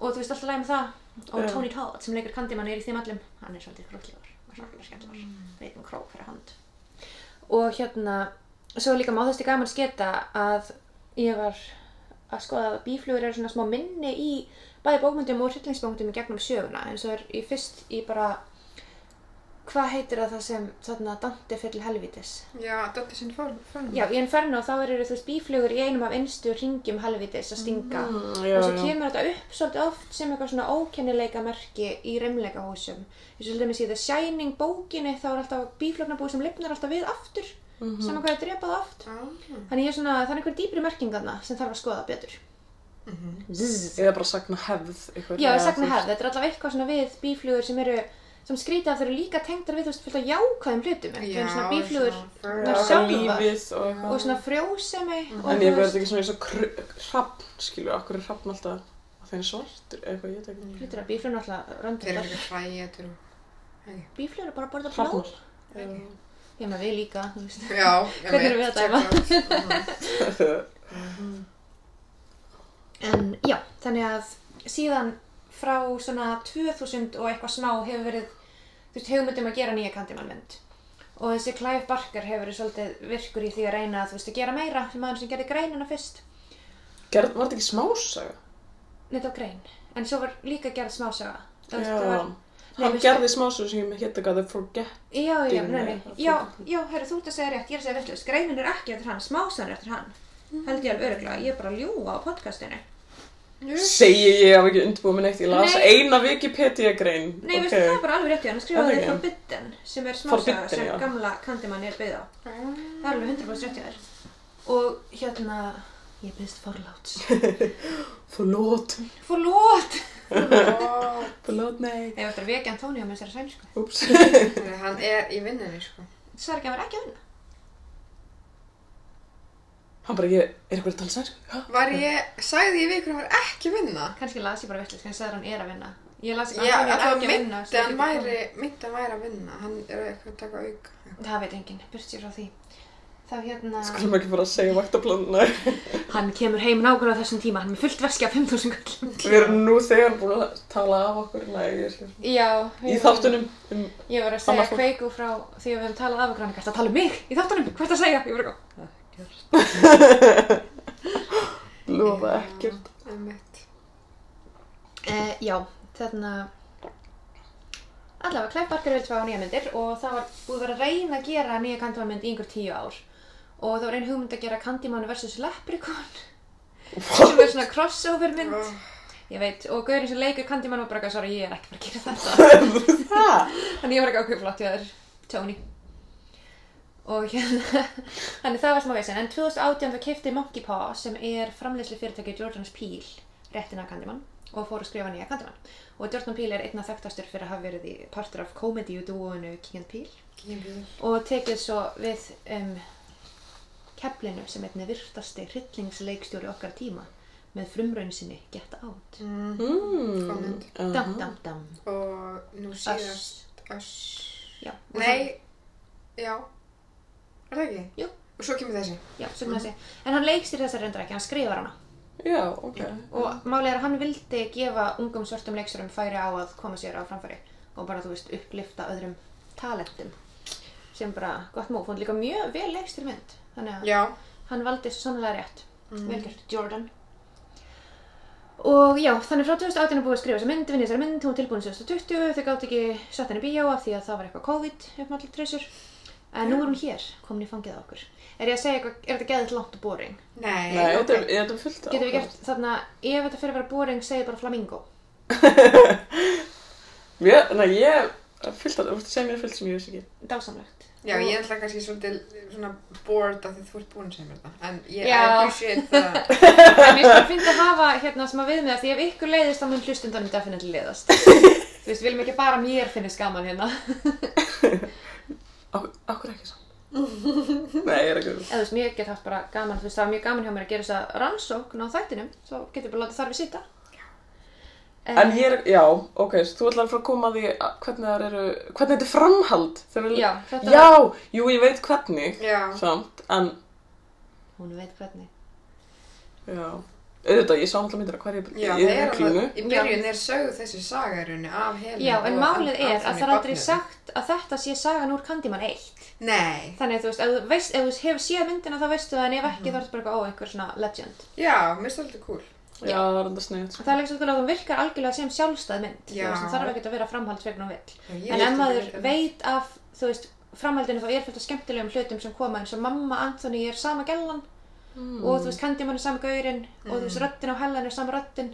og þú veist alltaf læg með það og Já. Tony Todd sem leikur Candyman er í þeim allum, hann er svolítið króklegar og svolítið skemmtilegar, veit um krók fyrir hand og hérna, svo er líka má þessi gaman sketa að ég var að skoða að bíflugur eru svona smá minni í bæði bókmyndum og hryllingsbókmyndum í gegnum söguna en svo er í fyrst í bara hvað heitir það það sem þarna Dante fyrir helvítis? Já, Dottir sinn fönn. Já, í Inferno þá eru þú veist bíflugur í einum af innstu ringjum helvítis að stinga já, og svo já. kemur þetta upp svolítið oft sem eitthvað svona ókennileika merki í reymleika húsum eins og dæmis í The Shining bókinni þá er alltaf bíflugnabúi sem lifnar alltaf við aftur mm -hmm. saman hvað er drepað oft þannig ég er svona, það er einhver dýpri merkingarna sem þarf að skoða betur Zzz. Eða bara sagna hefð eitthvað. Já, ég sagna hefð, þetta er alltaf eitthvað svona við bíflugur sem eru sem skrýta að þeir eru líka tengdar við þú veist fullt af jákvæðum hlutum en Já, svona bíflugur svona- ná Já, sjálfar. lífið og eitthvað. og svona frjósemi og Mhm. En þú ég verði veist- þetta ekki svona eins og kr- hrafn, skilur, okkur er hrafn alltaf að þeim svartur, eða eitthvað, ég veit ekki. Hlutur að bíflugur náttúrulega Þeir eru röndar eitthvað hrægjetur og... Bíflugur er bara að borða blóð Hrafnar. Ég með við líka, þú veist Já, ég Hvernig erum við að dæma? dæma? En já, þannig að síðan frá svona 2000 og eitthvað smá hefur verið þú veist, hugmyndum að gera nýja Candyman-mynd og þessi Clive Barker hefur verið svolítið virkur í því að reyna að þú veist að gera meira sem maður sem gerði greinina fyrst Gerð, var þetta ekki smásaga? Nei, það var grein, en svo var líka gerð smásaga Þú veist, Já. það var- Nei, Hann veistu- gerði smásaga sem ég hétt eitthvað The Forget. Já, já, Dýrðin nei, er nei. það já, fullkomið. já, herru, þú ert að segja rétt, ég er að segja vittlust. Greinin er ekki eftir hann, smásan er eftir hann. Mhm. Held ég alveg öruglega, ég er bara að ljúga á podcastinu. Segji ég hef ekki undirbúið mig neitt, ég las Nei. eina Wikipedia-grein. Nei, okay. veistu, það er bara alveg rétt, hann Er það skrifaði ekki? Forbidden, sem er smásaga Forbidden, sem já. gamla Candyman er byggð á. Það er alveg 100% rétt hjá þér. Og hérna, ég byggðist forláts. Forlót. Forlót! Forlót, nei. Ég ætti að vekja Antonio með þessari sænsku. Úps. Þannig að hann er í vinnunni, sko. Svar ekki að vera ekki að vinna. Hann bara, ég, er eitthvað að tala sænsku? Já. Var ég, sagði ég við ykkur að hann var ekki að vinna? Kannski las ég bara vittlust, kannski sagði hann er að vinna. Ég las Já, Antonio er alltaf ekki að vinna. myndi svo hann getur komið. væri, myndi hann væri að vinna. Hann er eitthvað að taka auka. Það veit enginn, burt sér frá því. Þá hérna... Skulum ekki bara að segja vaktablanna. Hann kemur heim nákvæmlega á þessum tíma, hann er með fullt veski af 5000 gull. Við erum nú þegar búin að tala af okkur. Nei, ég er ekki. Já, Í þáttunum um Ég var að segja Annað fólk. kveiku frá því að við höfum talað af okkur, hann er gæst að tala um mig í þáttunum, hvert að segja? Ég var eitthvað, lofa ekkert. Það er mitt. uh, já, þarna, allavega Clive Barker vildi fá nýja myndir og það var búið að vera að reyna að gera nýja Candyman mynd í einhver tíu ár og það var ein hugmynd að gera Candyman versus Leprechaun sem er svona crossover mynd, Oh. ég veit, og gaurinn sem leikur Candyman var bara eitthvað, sorry, ég er ekki bara að gera þetta Það? Þannig ég var ekki ákveð flott hjá þér, Tony. Og hérna, þannig það var smá veginn. En 2018 þá kefti Monkey Paw sem er framleiðslu fyrirtæki Jordan's Peel réttina að Candyman og fór að skrifa nýja Candyman. Og Jordan Peel er einna þekktastur fyrir að hafa verið í partur af komedíu-dúonu King and Peel og tekið svo við um, keflinu sem einnig virtasti hryllingsleikstjóri okkar tíma með frumraun sinni Get Out. Mm. Hmm? Hvað Mm. mynd? Dam, dam, dam. Og nú Öss. síðast Öss. Já. og Nei, já. Er það ekki? Jú. Og svo kemur þessi. svo- Já, svo kemur þessi. En hann leikstýr þessar reyndar ekki, hann skrifar hana. Já, ok. og málið er að hann vildi gefa ungum svörtum leiksturum færi á að koma sér á framfæri og bara, þú veist, upplifta öðrum talentum sem bara gott múf, hún er líka mjög vel leikstur mynd þannig að Já. hann valdi svo sannlega rétt Mm. vel gert, Jordan og já, þannig frá 2018 er búið að skrifa þessa mynd, vinna þessari mynd, hún var tilbúin 2020, þau gátt ekki sett henni í bíó af því að það var eitthvað COVID, ef maður allir trissur en nú er hún hér, komin í fangið á okkur er ég að segja eitthvað, er þetta geðið langt og boring? Nei. Nei, þetta er- þetta er fullt af. Getum við gert þarna, ef þetta fyrir að vera boring, segið bara flamingo. Mér, nei, ég, fullt af, þú ert að segja mér fullt sem ég veist ekki. Dásamlegt. Já, Og- ég er alltaf kannski svolítið svona bored af því þú ert búin að segja mér það. En ég Já. I appreciate það. En ég sko finnst að hafa hérna smá viðmið að því ef ykkur leiðist þá mun hlustundanum definitely leiðast. Þú veist, við viljum ekki bara mér finnist gaman hérna. Á- Akkur ekki saman. Nei, ég er ekki Eða þú veist, mér get haft bara gaman, þú veist, það var mjög gaman hjá mér að gera þess að rannsókn á þættinum, svo getur bara látið þar við sita. Eh, En ég er, já, ok, svo þú ætlar að fara að koma að því að hvernig það eru, hvernig þetta er framhald. Þeir eru, Já, þetta já, var- jú, ég veit hvernig, Já. samt, en, Hún veit hvernig. já, auðvitað, ég sá alltaf myndir að hverja, Já, ég það er er klínu. alveg, í byrjun er sögð þessi sagarunni af Helen Já, en og málið er að Anthony það er aldrei barninu. sagt að þetta sé sagan úr Candyman 1. Nei, Þannig að þú veist, ef þú veist, ef þú hefur séð myndina þá veistu það, en ef ekki þá er þetta bara eitthvað, ó, einhver svona legend. já, mér finnst það alltaf cool Já, það er enda sko. sniðt. það er líka svolítið að hún virkar algjörlega sem sjálfstæð mynd þú Já. veist, hún þarf ekki að vera framhaldsvegn og vill Já, ég veit en ef ekki maður hvað- veit af þú veist, framhaldinu þá er fullt af skemmtilegum hlutum sem koma eins og mamma Anthony er sama gellan og þú veist Candyman er sama gaurinn og þú veist röddin á Helen er sama röddin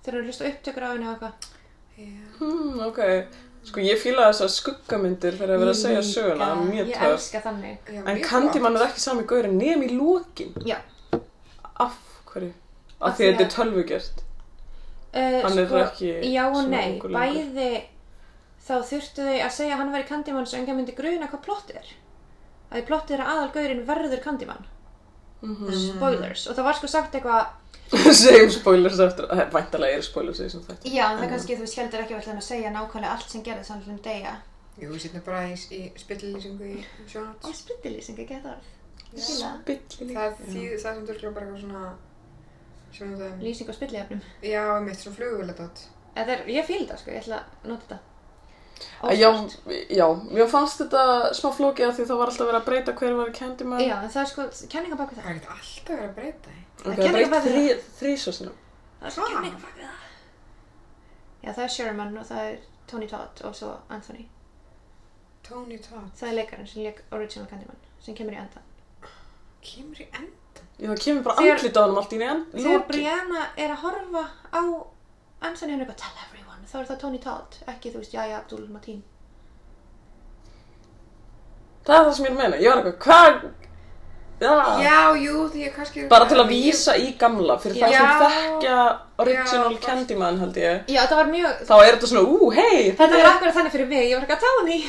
þegar hún hlusta á upptökur á henni og eitthvað Já. Hmm, ok. Sko, ég fíla þessar skuggamyndir þegar það er Oh verið að segja söguna. Það er mjög ég töf. elska þannig Já, En mjög Candyman er ekki sami gaurinn nefn í lókin. já, Af hverju? Af Af því því að að- þetta er tölvugjert. uh, Hann er ekki já og svona nei, ungur lengur. bæði þá þurftu þau að segja að hann væri Candyman sem enga myndi gruna hvað plottið er að því plottið er að aðalgaurinn verður Candyman Mhm. spoilers, og það var sko sagt eitthvað Segjum spoilers eftir. Það er væntalega eru spoilers í þessum þetta. Já, en það kannski, þú veist, heldur ekki að við ætlum að segja nákvæmlega allt sem gerðist hann hljum degja. Jú, við setjum bara í, í spillilýsingu í sjónat. Ó, sprittilýsing, ekki þetta orð. Ég fíla það. Billi líka. Það þýðir það sem þurftur bara eitthvað svona, svona það, Lýsing á spillilefnum. já, mitt svona flugvöldadótt. Þetta er, ég fíl þetta, sko, ég ætla að nota þetta. Já, Óspart. já, mér fannst þetta smá flókið af því það var alltaf verið að breyta hver var Candyman. Já, en það er sko, kenninga bak við Það það. er ekkert alltaf verið að breyta því. Ok, Það það gerði breytt bara- þrí, þrísa sinna. Það er svo kenninga bak við það. Já, það er Sherman og það er Tony Todd og svo Anthony. Tony Todd Það er leikarinn sem leik Original Candyman, sem kemur í endan. kemur í enda. Já, það kemur bara Þegar- andlit á hann allt í enn. Þegar Brianna er að horfa á Anthony, hann er eitthvað, tell everyone, þá er það Tony Todd, ekki, þú veist, Jaya Abdul Mateen. Það er það sem ég er að meina. Ég var eitthvað, hvað? Já. Já, jú, því ég kannski... Ah. Bara til að vísa í gamla, fyrir það Já. sem þekkja original Já, Candyman held ég. Já, það var mjög, Þá er þetta svona, ú, hei, Þetta var akkurat þannig fyrir mig, ég var ekki að um Tony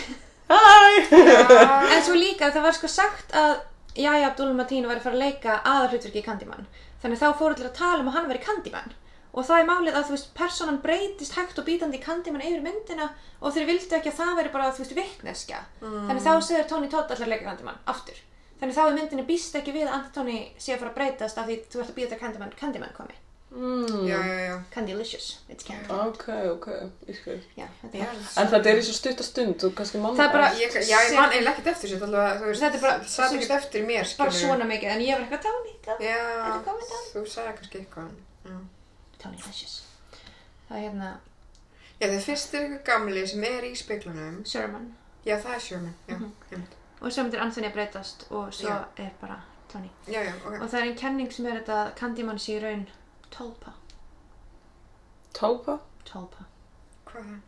hæ. Já, En svo líka það var sko sagt að Jæja Abdul Mateen væri að fara að leika aðalhlutverki í Candyman Þannig þá fóru allir að tala um að hann væri Candyman Og það er málið að þú veist, personan breytist hægt og bítandi í Candyman yfir myndina og þeir vildu ekki að það væri bara, þú veist, vikneskja Mm. Þannig þá segir Tony Todd allar að leika Candyman, aftur Þannig þá er myndinni býst ekki við að Antoni sé að fara að breytast af því þú ert að býta Candyman, Candyman komi Mm, já, já, já. Candylicious, it's Candy ok, ok, ég skil. Já, þetta Já, var En þetta er í svo stutta stund og kannski mann... Það er bara- Ég, já, ég man eiginlega ekkert eftir sér, allavega, þú veist, Þetta er bara- það satt ekkert eftir í mér, bara skilurðu. svona mikið, en ég var eitthvað Tony, Tony Þetta er Já, komið þú sagði kannski eitthvað. Já. Tony Lashes það er hérna Já, þegar fyrst er eitthvað gamli sem er í speiklunum. Sherman Já, það er Sherman. Já, Mhm. einmitt. og svo myndir Anthony að breytast og svo Já. er bara Tony já, já, ok. og það er einn kenning sem er þetta að Candyman sé í raun tólpa Tópa? tólpa Hvað er það?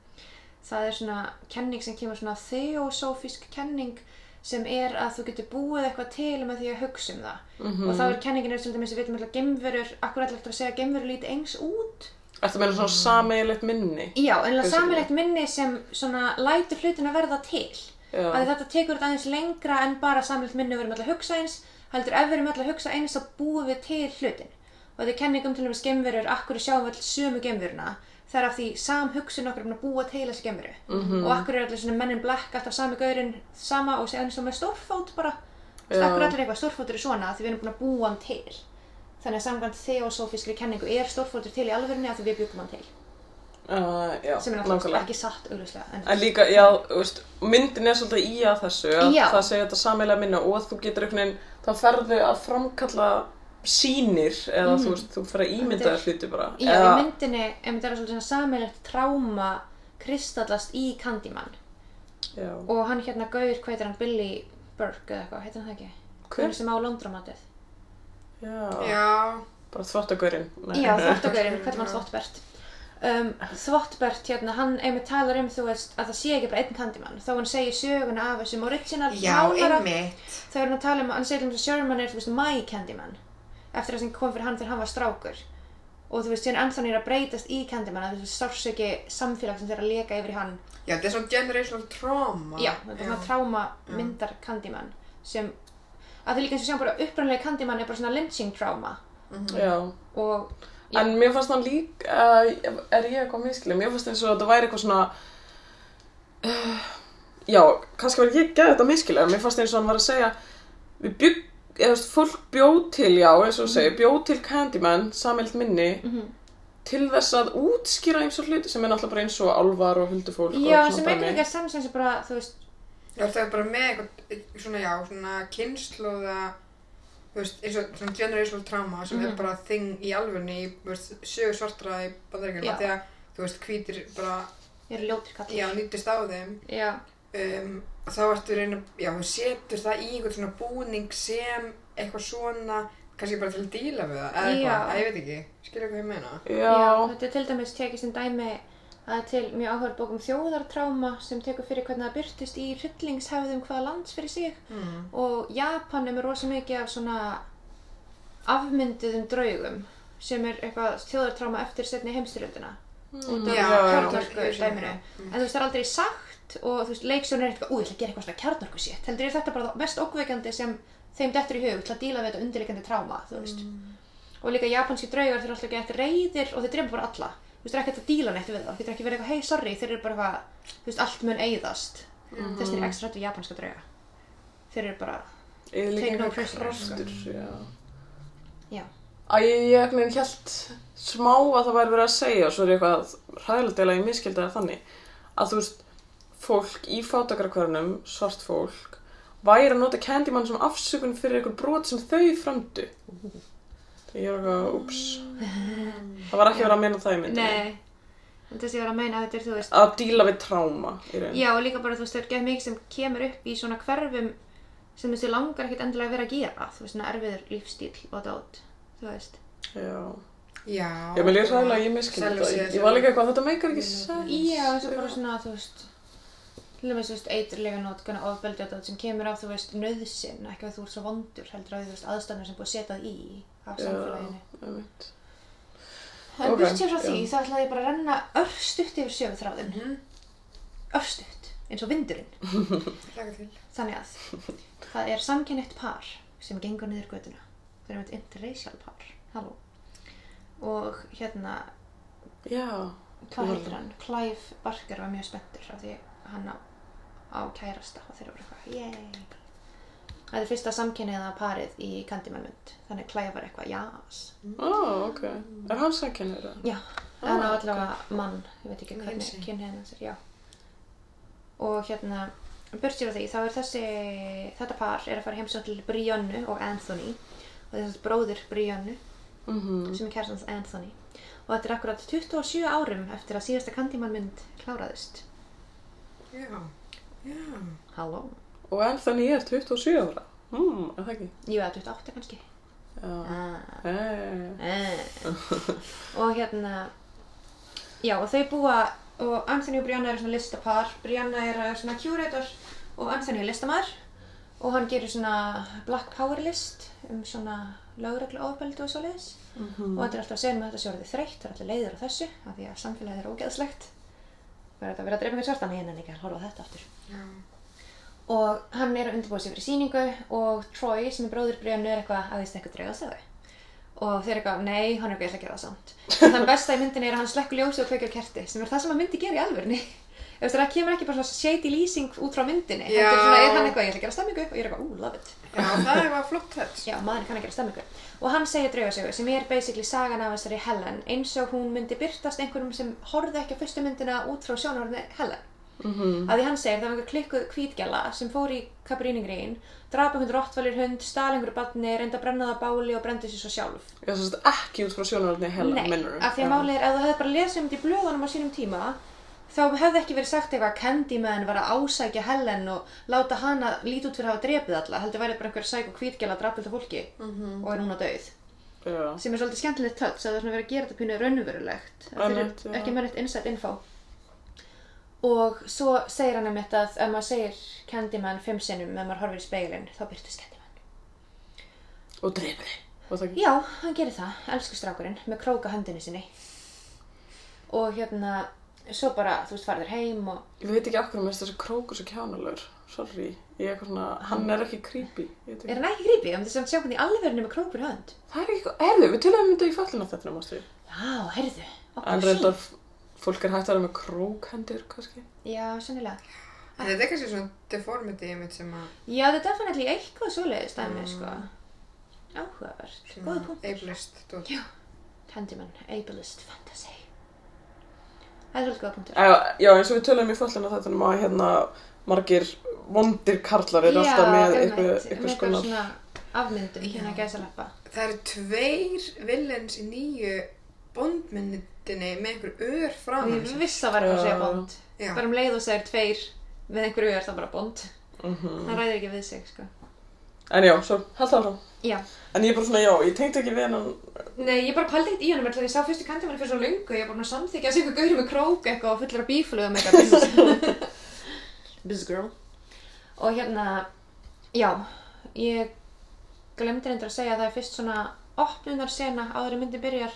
það er svona kenning sem kemur svona theosófísk kenning sem er að þú getur búið eitthvað til með því að hugsa um það og þá er kenningin er sem dæmis við veitum alltaf gemverur akkur alltaf að segja að gemverur líti eins út Þetta meina svona sameigilegt minni. já, en það Basically. samilegt minni sem svona lætur hlutin að verða til Já. að þetta tekur þetta aðeins lengra en bara samlelt minni og við erum öll að hugsa eins heldur ef við erum öll að hugsa eins þá búum við til hlutin og þetta er kenningum til dæmis gemverur akkur sjáum við öll sömu gemveruna það er af því sam hugsun okkur er búin að búa til þessi gemveru -hmm. Mhm. og akkur er allir svona mennin black alltaf sami gaurinn sama og segja eins og með stórfót bara Já. akkur allir eitthvað stórfótur er svona af því við erum búin að búa hann til þannig að samkvæmt þeosófískri kenningu er stórfótur til í alvörunni af því við bjúkum hann til Uh, já, sem er náttúrulega nákvæmlega. ekki satt augljóslega en, En líka, já, þú veist, myndin er svolítið í að þessu, að Já. það segja þetta sameilega minna og þú getur einhvern veginn, þá ferðu að framkalla sýnir eða þú veist, þú fer að ímynda þér hluti bara. Mm. Já, eða, í myndinni, ef þetta er svolítið svona sammeilegt tráma kristallast í Candyman Já, og hann hérna gauður, hvað heitir hann, Billy Burke eða eitthvað, heitir hann það ekki? Hver? Hann sem á Londromatið. já, Já, bara þvottagurinn. Já, þvottagaurinn, hvað er hann þvottbert? Um, þvottbert, hérna, hann einmitt talar um, þú veist, að það sé ekki bara einn Candyman þá hann segir söguna af þessum original já, málara- einmitt. þá er hann að tala um, hann segir um þess að Sherman er, þú veist, my Candyman eftir það sem kom fyrir hann þegar hann var strákur og þú veist, síðan Anthony er að breytast í Candyman að þú veist, sársöki samfélag sem þeir að leka yfir í hann Já, þetta er svona generational trauma. já, þetta er svona tráma myndar Candyman sem, að þau líka eins og sjáum bara upprannlega Candyman er bara svona lynching trauma Já, og Já. en mér fannst hann líka, uh, er ég eitthvað miskilið, mér fannst eins og þetta væri eitthvað svona, uh, já, kannski var ég geði þetta miskilið, en mér fannst eins og hann var að segja, við bygg, eða þú veist, fólk bjóð til, já, eins og þú segir, bjóð til Candyman, samild minni, mhm. til þess að útskýra eins og hluti sem er náttúrulega bara eins og álvar og huldufólk já, og sem svona eitthvað ekki að sem sem bara, þú veist Já, það er bara með eitthvað, svona, já, svona kynnslóða þú veist, eins og svona generational trauma sem Mhm. er bara þing í alvörni í, þú veist, sögur svartra í Já. bandaríkjunum því að, þú veist, hvítir bara, Ég er ljótur kallar. já, nýttist á þeim Já, um, þá ertu reyna, já, hún setur það í einhvern svona búning sem eitthvað svona, kannski bara til að díla við það, eða Já. eitthvað, að ég veit ekki skilja hvað ég meina já, já, þetta er til dæmis tekið sem dæmi að er til mjög áhverð bókum þjóðartráma sem tekur fyrir hvernig það byrtist í hryllingshefðum hvaða lands fyrir sig mm. og Japan er með rosa mikið af svona afmynduðum draugum sem er eitthvað þjóðartráma eftir setni heimstyrjöldina Mm. út af Já, kjarnorku já, já, dæminu já. en þú veist það er aldrei sagt og þú veist leiksjónu er eitthvað, ú ég ætla að gera eitthvað svona kjarnorku sétt heldur er þetta bara það mest ókveikandi sem þeim dettur í hug til að díla við þetta undirleikandi tráma þú veist og líka japanski draugar þeir eru alltaf ekki eftir reyðir og þeir drepa bara alla þú veist það er ekkert að díla neitt við það þú getur ekki verið eitthvað hei sorry þeir eru bara eitthvað þú veist allt mun eyðast Mhm. þess vegna er ég ekstra rætt við japanska drauga þeir eru bara Take no eðlíkingar prisoner, sko. kraftur, já. Já. Æ, ég ekki neginn hjælt smá að það væri verið að segja og svo er ég eitthvað hræðilega ég miskildi það þannig að þú veist, fólk í fátakrakvörnum, svart fólk, væri að nota Candyman sem afsökun fyrir einhver brot sem þau framdu. Þegar ég er eitthvað, ups, það var ekki verið að meina það í myndinni. nei en þess að ég var að meina að þetta er þú veist Að díla við tráma í raun. já og líka bara þú veist það er gett mikið sem kemur upp í svona hverfum sem þessi langar ekkert endilega að vera að gera þú veist svona erfiður lífstíl og dát þú veist Já. já, Ég með líka hræðilega ég miskildi Selur það. sér- Ég- Ég var líka eitthvað, þetta meikar ekki sens. Já, þess að bara svona, þú veist til dæmis, þú veist, eiturlega nótkan og ofbeldi og þetta sem kemur af, þú veist, nöðsinn ekki að þú ert svo vondur, heldur að þú veist aðstæðnir sem er búið að setja það í af Já. samfélaginu Einmitt. En Ok, okay, burt sér frá já. því, þá ætlaði ég bara að renna örstutt yfir sjöfuþráðin Mhm. örstutt, eins og vindurinn Laka til þannig að það er samkennett par sem gengur niður göduna það er með interracial par, halló og hérna, Já. hvað Þú- heitir hann? Clive Barker var mjög spenntur af því hann á, á kærasta og þeir voru eitthvað, yey Það er fyrsta samkynniða parið í Candyman mynd þannig Clive var eitthvað, jás Ó, ok. Er hann sækennir það? Já, hann á allavega mann ég veit ekki Nei, hvernig hinsegin. kynni hennar sér, já og hérna, burt sér á því þá er þessi, þetta par er að fara heimsótt til Briannu og Anthony og þessi bróðir Briannu Mhm. sem er kærstans Anthony og þetta er akkurat 27 árum eftir að síðasta Candyman mynd kláraðist já, já Halló? Og Anthony er 27 ára. Hmm, er það ekki? Jú, eða 28 kannski Já. ah. Hey. Eh. Og hérna Já, og þau búa og Anthony og Brianna eru svona listapar Brianna er eh, svona curator og Anthony er listamar og hann gerir svona black power list um svona lögreglu ofbeldi og svoleiðis og þetta er alltaf að segja með þetta sé orðið þreytt, það er alltaf leiður á þessu af því að samfélagið er ógeðslegt það er þetta að vera að dreifa einhvern svartan hérna, en ekki að horfa á þetta aftur Já. og hann er að undirbúa sig fyrir sýningu og Troy sem er bróður Briannu er eitthvað að þið stekku draugasöðu og þeir eru eitthvað, nei, hann er eitthvað, ég ætla að gera það samt og þann besta í myndinni er að hann slekkur ljósi og kveikjar kerti sem er það sem hann myndi gera í alvörni ef þess að það kemur ekki bara svona shady lýsing út frá myndinni Já. heldur svona er hann eitthvað, ég ætla að gera stemmingu og ég er eitthvað, ú, love it Já, það var flott þess. já, maður kann að gera stemmingu og hann segir draugasögu sem er basically sagan af þessari Helen eins og hún myndi byrtast einhverjum sem horfði ekki á fyrstu myndina út frá sjónarhorni Helen Mhm. að því hann segir það var einhver klikkuð hvítgjalla sem fór í Kabríningriðin drapa einhvern rottvalir hund, stal einhverju barni reynda að brenna það á báli og brendi sér svo sjálf Ég svo sett ekki út frá sjónaröldni hella, Nei, minnur. af því að málið er ef þú hefði bara lesið um þetta í blöðunum á sínum tíma þá hefði ekki verið sagt eitthvað að Candyman var að ásækja Helen og láta hana lít út fyrir að hafa drepið alla heldur væri bara einhver sæk og hvítgjalla að drapa þetta fólki Mhm. og er núna döið Já. sem er svolítið skemmtilegt töps að það er svona verið að gera þetta pínu raunverulegt að þeir Einmitt, já. eru ekki með neitt insight info og svo segir hann einmitt að ef maður segir Candyman fimm sinnum ef maður horfir í speilin þá byrtist Candyman Og dreifir þig. Og það ekki? já, hann gerir það, elsku strákurinn með króka höndinu sinni og hérna svo bara, þú veist, farður heim og Ég veit ekki okkur með þessi krókur svo kjánalur. Sorry. Ég er eitthvað svona, hann er ekki creepy. Ég veit er ekki. hann ekki grípi, um þess að sjá hvernig í alvörinu með krókur hönd Það er ekki eitthvað, erðu, við tölum um þetta í fallin af þetta, mástu. já, heyrðu, En reyndar, fólk er hægt að vera með krókhendir, kannski. já, sennilega En þetta er kannski svona deformity mitt sem að... já, þetta er definitely eitthvað svoleiðis dæmi, sko áhugavert, góð punktur Eiflist. Candyman, ableist fantasy Það er svolítið góða punktur Já, já, eins og við tölum í fallinu þetta um að hérna margir vondir karlar eru alltaf með einmitt, eitthvað, með eitthvað skonar svona afmyndum hérna Já. gæsalappa. Það eru tveir villens í nýju bondmyndinni með einhver ör Og framan ég sig. viss að vera eitthvað að segja Já. bond. Já. Bara um leið og segir tveir með einhverju er það bara bond. Mhm. Það ræðir ekki við sig, sko. En já, svo held það frá. Já. En ég er bara svona, já, ég tengd ekki við hennan, Nei, ég bara pældi ekkert í honum þegar ég sá fyrstu kandimann fyrir svo lungu. Ég var bara að samþykja að segja einhver gaurið með krók eitthvað og fullur af bíflögum eitthvað. busy girl. Og hérna, já, ég glemdi reyndar að segja að það er fyrst svona opnunarsena áður en myndin byrjar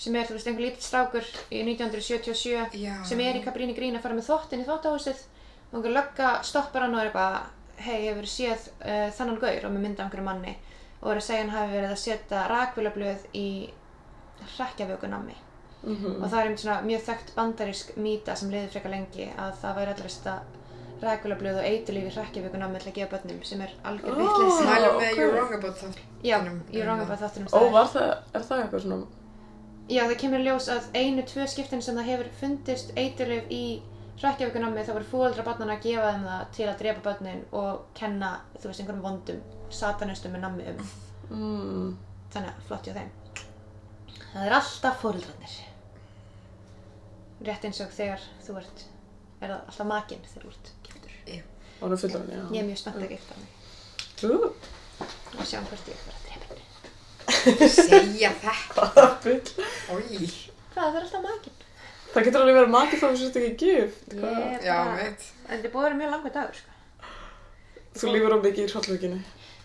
sem er, þú veist, einhver lítill strákur í 1977 Já. sem er í Cabrini Grín að fara með þvottin í þvottahúsið og einhver lögga stoppar hann og er eitthvað hei, hefur séð uh, þannan gaur og með mynda einhverju manni og er að segja hann hafi verið að setja rakvilablöð í hrekkjavökunammi Mhm. og það er einmitt svona mjög þekkt bandarísk mýta sem liði frekar lengi að það væri allra vist að rækuleblöð og eiturlíf í hrekkjavíkunum með að gefa börnum sem er algjör oh. Oh. vitleis Mæla Já, með ok. You're Wrong About That. Já, Þínum- ég er ráðum bara þáttunum Ó, var það, er það eitthvað svona, Já, það kemur í ljós að einu, tvö skiptin sem það hefur fundist eiturlif í hrekkjavíkunum þá voru fóaldra barnana að gefa þeim það til að drepa börnin og kenna, þú veist, einhverjum vondum satanustum með nammi um mm, þannig að flott hjá þeim það er alltaf fóreldrarnir rétt eins og þegar þú ert er það alltaf makinn þegar þú ert giftur var það fullur hann, ég já. er mjög spennt að gifta mig Ú, og sjáum hvort ég verð að drepa henni Segja þetta. það er bull. Í. hvað það er alltaf makinn Það getur alveg verið makið þá þú sért ekki gift, hvað? ég er Já, bara, veit. þetta er búið að vera mjög langur dagur sko. Þú lífur á mikið í hrollvöginni.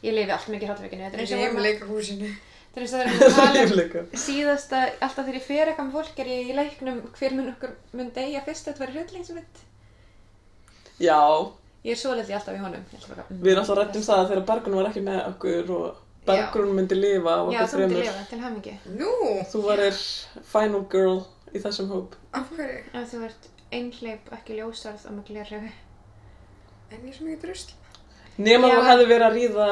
ég lifi allt mikið hrátvekinu þetta er eins og Ég er hérna. vorum með að- leikarhúsinu. þetta er eins og það er að tala um Lífleika. síðasta, alltaf þegar ég fer eitthvað með fólk er ég í leiknum hver mun okkur mun deyja fyrst þetta verið hryllingsmynd Já, ég er svolítið alltaf í honum Ég ætla bara, mm, við náttúrulega rættum um það þegar Bergrún var ekki með okkur og Bergrún myndi lifa og já, þú okkur myndir fremur. lifa til hamingi Nú, Þú varir final girl í þessum hóp. af hverju? Ef þú ert einhleip, ekki ljósarð og með glerrögu. En ég er svo mikið drusl. Nefn að Já. þú hefði verið að ríða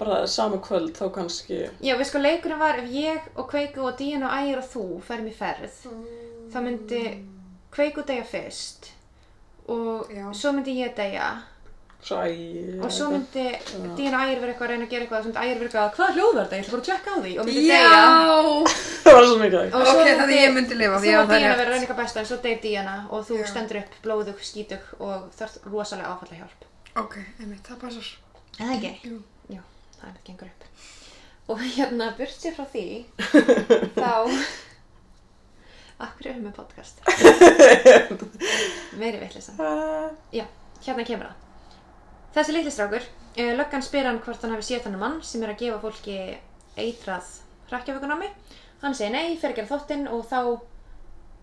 bara sama kvöld þá kannski. Já, við sko leikurinn var ef ég og Kveiku og Díana og Ægir og þú ferum í ferð, Mm. þá myndi Kveiku deyja fyrst og Já. svo myndi ég deyja Svo æg. og svo myndi Díana og Ægir vera eitthvað að reyna að gera eitthvað og Ægir vera eitthvað, hvað hljóð var þetta? Ég ætla bara að tjekka á því og myndi Já! deyja. Það var svo mikið. Og Ok, það er ég myndi lifa, Þú því og að það Díana er vera að rétt. reyna eitthvað besta en svo deyr Díana og þú Já. stendur upp blóðug, skítug og þarf rosalega áfalla hjálp. Ok, einmitt, það passar. En það ekki? Jú. Já, það er með gengur upp. Og hérna, burt sér frá því, þá... Akkur erum við podcast? Meiri vitleisa. Já, hérna kemur það. Þessi litli strákur, uh, löggan spyr hann hvort hann hafi séð þannig mann sem er að gefa fólki eitrað hrakkjafökunami. Hann segir nei, fer að gera þóttinn og þá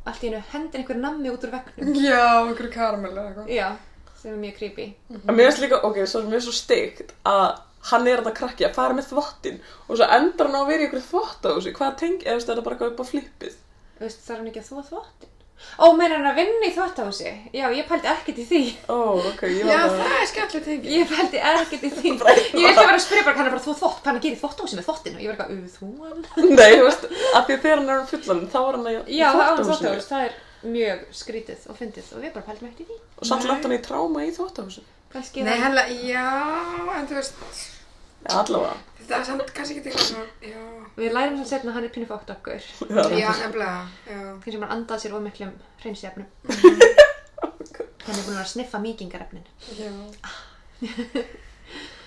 allt í hennu hendir einhver nammi út úr vegnum. Já, einhver karamell eða eitthvað. Já, sem er mjög creepy. En mér finnst líka, ok, svo er mér svo steikt að hann er þetta krakki að fara með þvottin og svo endar hann á að vera í ykkur þvott á þessu. Hvað tengi, eða þetta er bara eitthvað upp á flippið. Þú veist, þarf hann ekki að þvó þvottin? Ó, meira hann að vinna í þvottahúsi? Já, ég pældi ekkert í því. Ó, ok, ég Já, var bara... það er skemmtileg tengi. Ég pældi ekkert í því. Ég vildi bara að spyrja bara hann er bara þú þvott, hann gerir þvottahúsi með þvottin og ég var eitthvað, auð þú hann? Nei, þú veist, af því að þegar hann er fullan þá er hann í Já, það er þvottahúsinu. þvottahús, það er mjög skrítið og fyndið og við bara pældum ekkert í því. Og samt Nei. lagt hann í tráma í þvottahúsinu. Kannski Nei, það- hella, já, en þú veist, Já, allavega. þetta er samt kannski ekki eitthvað svona, já. Við lærum svo setna að hann er pínu fókt okkur. Já, nefnilega, já. Þegar sem hann andað sér of miklum hreinsjafnum. Hann er búin að vera að sniffa mýkingarefnin. Já.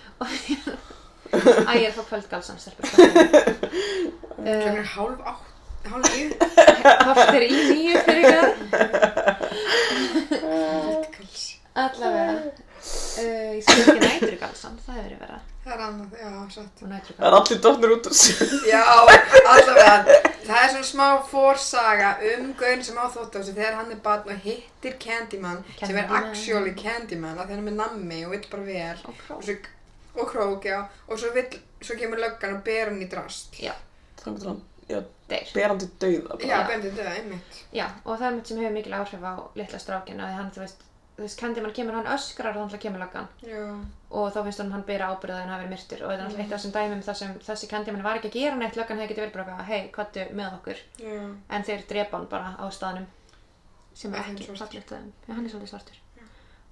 Æ, ég er að fá kvöldgalsan, stelpur. Klukkan Eh, er hálf átt, hálf níu. Hvort er Eh, í nýju fyrir Hálf kals. Allavega, uh, ég skil ekki nætrugalsan, það hefur verið vera. Það er annað, já, satt. Og Það nætrugalsan. Oh. er allir dotnir út úr sér. Já, allavega, það er svona smá fórsaga um gauðin sem á þóttási þegar hann er barn og hittir Candyman, sem er Candyman. actually Candyman, af því hann er með nammi og vill bara vel Og og, krók. svo, og krók, já, og svo, vill, svo kemur löggan og ber hann í drast. Já, Þannig að hann, já, deyr. berandi dauða Já, bara. bendið döða, einmitt. Já, og það er mitt sem hefur mikil áhrif á litla strákin að hann, þú veist, þú veist, kendi mann kemur hann öskrar og þannig að kemur löggan Já, og þá finnst hann hann byrja ábyrða að hann hafi verið myrtur og þetta er náttúrulega eitt af þessum dæmum þar sem þessi kendi mann var ekki að gera neitt löggan hefði getið verið bara eitthvað, hei, kvattu með okkur já, en þeir drepa hann bara á staðnum sem er Hann er ekki svartur. fallegt að þeim. Já, hann er svolítið svartur.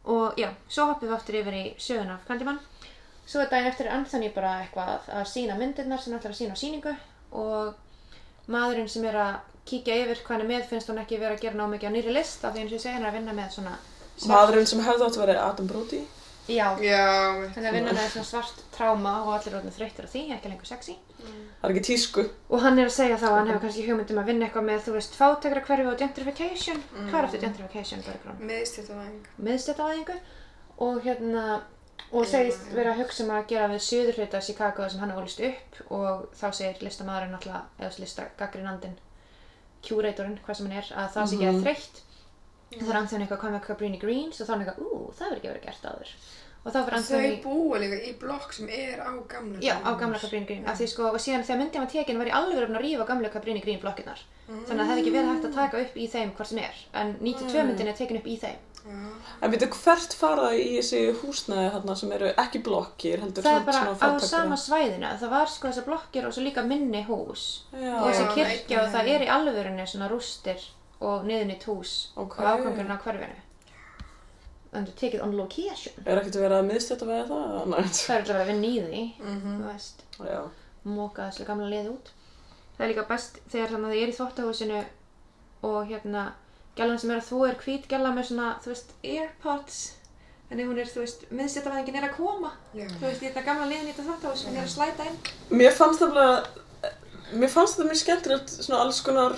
Og já, svo hoppum við aftur yfir í söguna af Candyman Svo er daginn eftir er Anthony bara eitthvað að sína myndirnar sem hann ætlar að sína á síningu og maðurinn sem er að kíkja yfir hvað hann er með finnst hún ekki vera að gera ná mikið á nýri list af því eins og ég segi hann er að vinna með svona Maðurinn sem hefði átt að vera Adam Brody Já, Já, hann er að vinna með svona svart tráma og allir orðin þreyttir á því, ekki lengur sexy Það er ekki tísku og hann er að segja þá að hann hefur kannski hugmyndum að vinna eitthvað með, þú veist, fátækra og gentrification Hvað er eftir gentrification, Bergrún? miðstjórnvæðing. miðstjættavæðingu og hérna og segist vera að hugsa um að gera við söður hluta Chicago sem hann ólist upp og þá segir listamæðurinn alltaf eða listagagrinandinn curatorinn, hvað sem hann er, að það sé ekki að þreytt þá er Anthony eitthvað að koma með Cabrini Greens og þá er hann eitthvað, ú, það verður ekki að vera gert áður og þá fyrir Anthony Þau búa líka í blokk sem er á gamla Já, á bænum. gamla Cabrini Green, af því sko, og síðan þegar myndin var tekin var ég alveg að rýfa gamla Cabrini Green blokkinar þannig að það hefði ekki verið hægt að taka upp í þeim hvort sem er, en 92 myndin er tekin upp í þeim Já, En veitu hvert fara í þessi húsnæði þarna sem eru ekki blokkir heldur það er samt svona bara á fátækra? sama svæðinu það var sko þessar blokkir og svo líka minni hús og Já, þessi Já, kirkja og það einnig. er í alvörunni svona rústir og niðurnitt hús Ok. og ákvöngurinn á hverfinu en þú tekið on location er ekkert verið að miðstjæta vega það? Nei, það er alltaf að vinna í því þú veist, já, móka þessu gamla liði út það er líka best þegar þannig að það er í þvóttahúsinu og hérna gælan sem er að þú er hvít gæla með svona, þú veist, earpods þannig hún er, þú veist, miðstjættavæðingin er að koma já. þú veist, í þetta gamla liðin í þetta þvóttahús hún er að slæta inn Mér fannst það bara Mér fannst þetta mjög skemmtilegt svona alls konar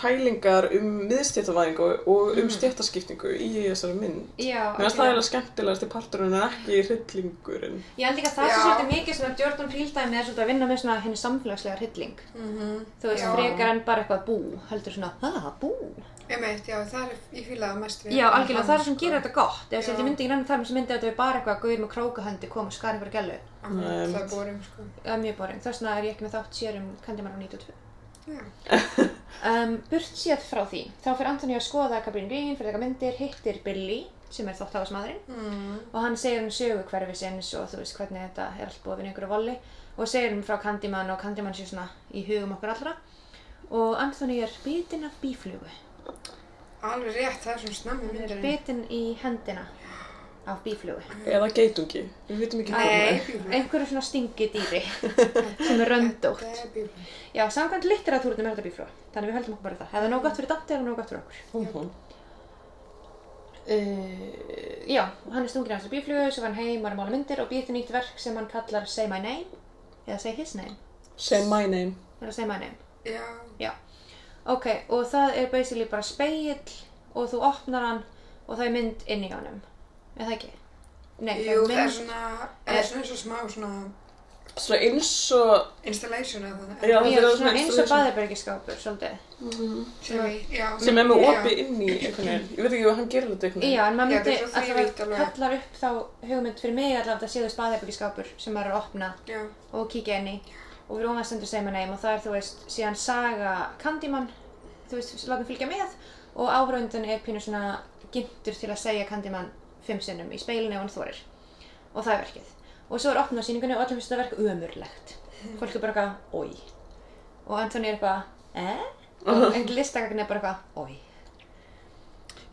pælingar um miðstjættavæðingu og um mm stjættaskiptingu í þessari mynd Já, Mér finnst það eiginlega skemmtilegast í parturinn en ekki hryllingurinn Ég held líka að það Já. sem svolítið mikið svona Jordan Peele dæmi er svolítið að vinna með svona henni samfélagslega hrylling. Mhm. Þú veist, Já. frekar en bara eitthvað bú, heldur svona, ha, bú. Einmitt, já, það er, ég fýla það mest við. Já, algjörlega, það er það sem sko. gerir þetta gott. Ef Já. þetta myndi ekki nefnir þar, sem myndi þetta við bara eitthvað gauðir með krókahöndi kom og skar einhverja gælu. Akkurat, Það er borum, sko. Það er mjög boring. Þess vegna er ég ekki með þátt sér um Candyman á 92. Já. Um, burt séð frá því, þá fyrir Antoni að skoða Cabrín Green, fyrir eitthvað myndir, hittir Billy, sem er þóttafasmadurinn. Mm. og hann segir um sögu hverfisins og þú veist hvernig þetta er allt búið við einhverju voli og segir um frá Candyman og Candyman sé svona í hugum okkur allra og Anthony er bitinn af bíflugu Alveg rétt, það er svona snemmi hann er myndarinn. bitinn í hendina af bíflugu Eða geitungi, við vitum ekki hvað það Nei, er bílum. einhverju svona stingidýri sem er Það röndótt er bílum. já, samkvæmt litteratúrunum er þetta bífluga þannig við höldum okkur bara við það ef það er nóg gott fyrir Dante er það nóg gott fyrir okkur Hún, hún. uh, já, hann er stungin af þessu bíflugu svo var hann heim, var að mála myndir og býr til nýtt verk sem hann kallar Say My Name eða Say His Name Say my name er það Say My Name Já, Já, ok, og það er basically bara speill og þú opnar hann og það er mynd inn í honum, er það ekki? Nei, jú, það það er er mynd, svona, það er svona eins og smá svona Svona eins og installation eða þannig. Já, já, þetta er svona svona eins og baðherbergiskápur, svolítið. Mhm. Sem við, já. sem er með Já. opi inn í einhvern veginn Ég veit ekki hvað hann gerir þetta einhvern Já, en maður Mm. Já, þetta er myndi svo þrívítt alltaf alveg. kallar upp þá hugmynd fyrir mig allavega að séðust baðherbergiskápur sem maður er að opna Já, og kíkja inn í og við erum að sendur segja neim og það er, þú veist, síðan saga Candyman, þú veist, látum fylgja með og áhraundin er pínu svona gyndur til að segja Candyman fimm sinnum í speilinu ef hann þorir og það er verkið og svo er opnað síningunni og öllum finnst þetta verk ömurlegt fólk er bara eitthvað, oi og Antoni er eitthvað, eh? og einn listakagn er bara eitthvað, oi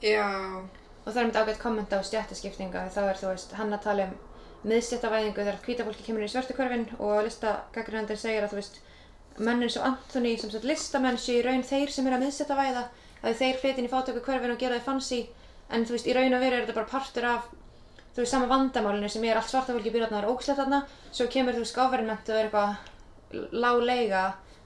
já, og það er mitt ágætt komment á stjættaskiptinga þá er þú veist hann að tala um miðstjættavæðingu þegar hvíta fólki kemur inn í svörtu hverfin og listagagrinandir segir að þú veist menn eins og Anthony sem sagt listamenn séu í raun þeir sem eru að miðstjættavæða að þeir flytja inn í fátöku hverfin og gera þeir fancy en þú veist í raun og veru er þetta bara partur af þú veist sama vandamálinu sem er allt svarta fólki býr þarna og er ógslætt þarna svo kemur þú veist government og er eitthvað láglega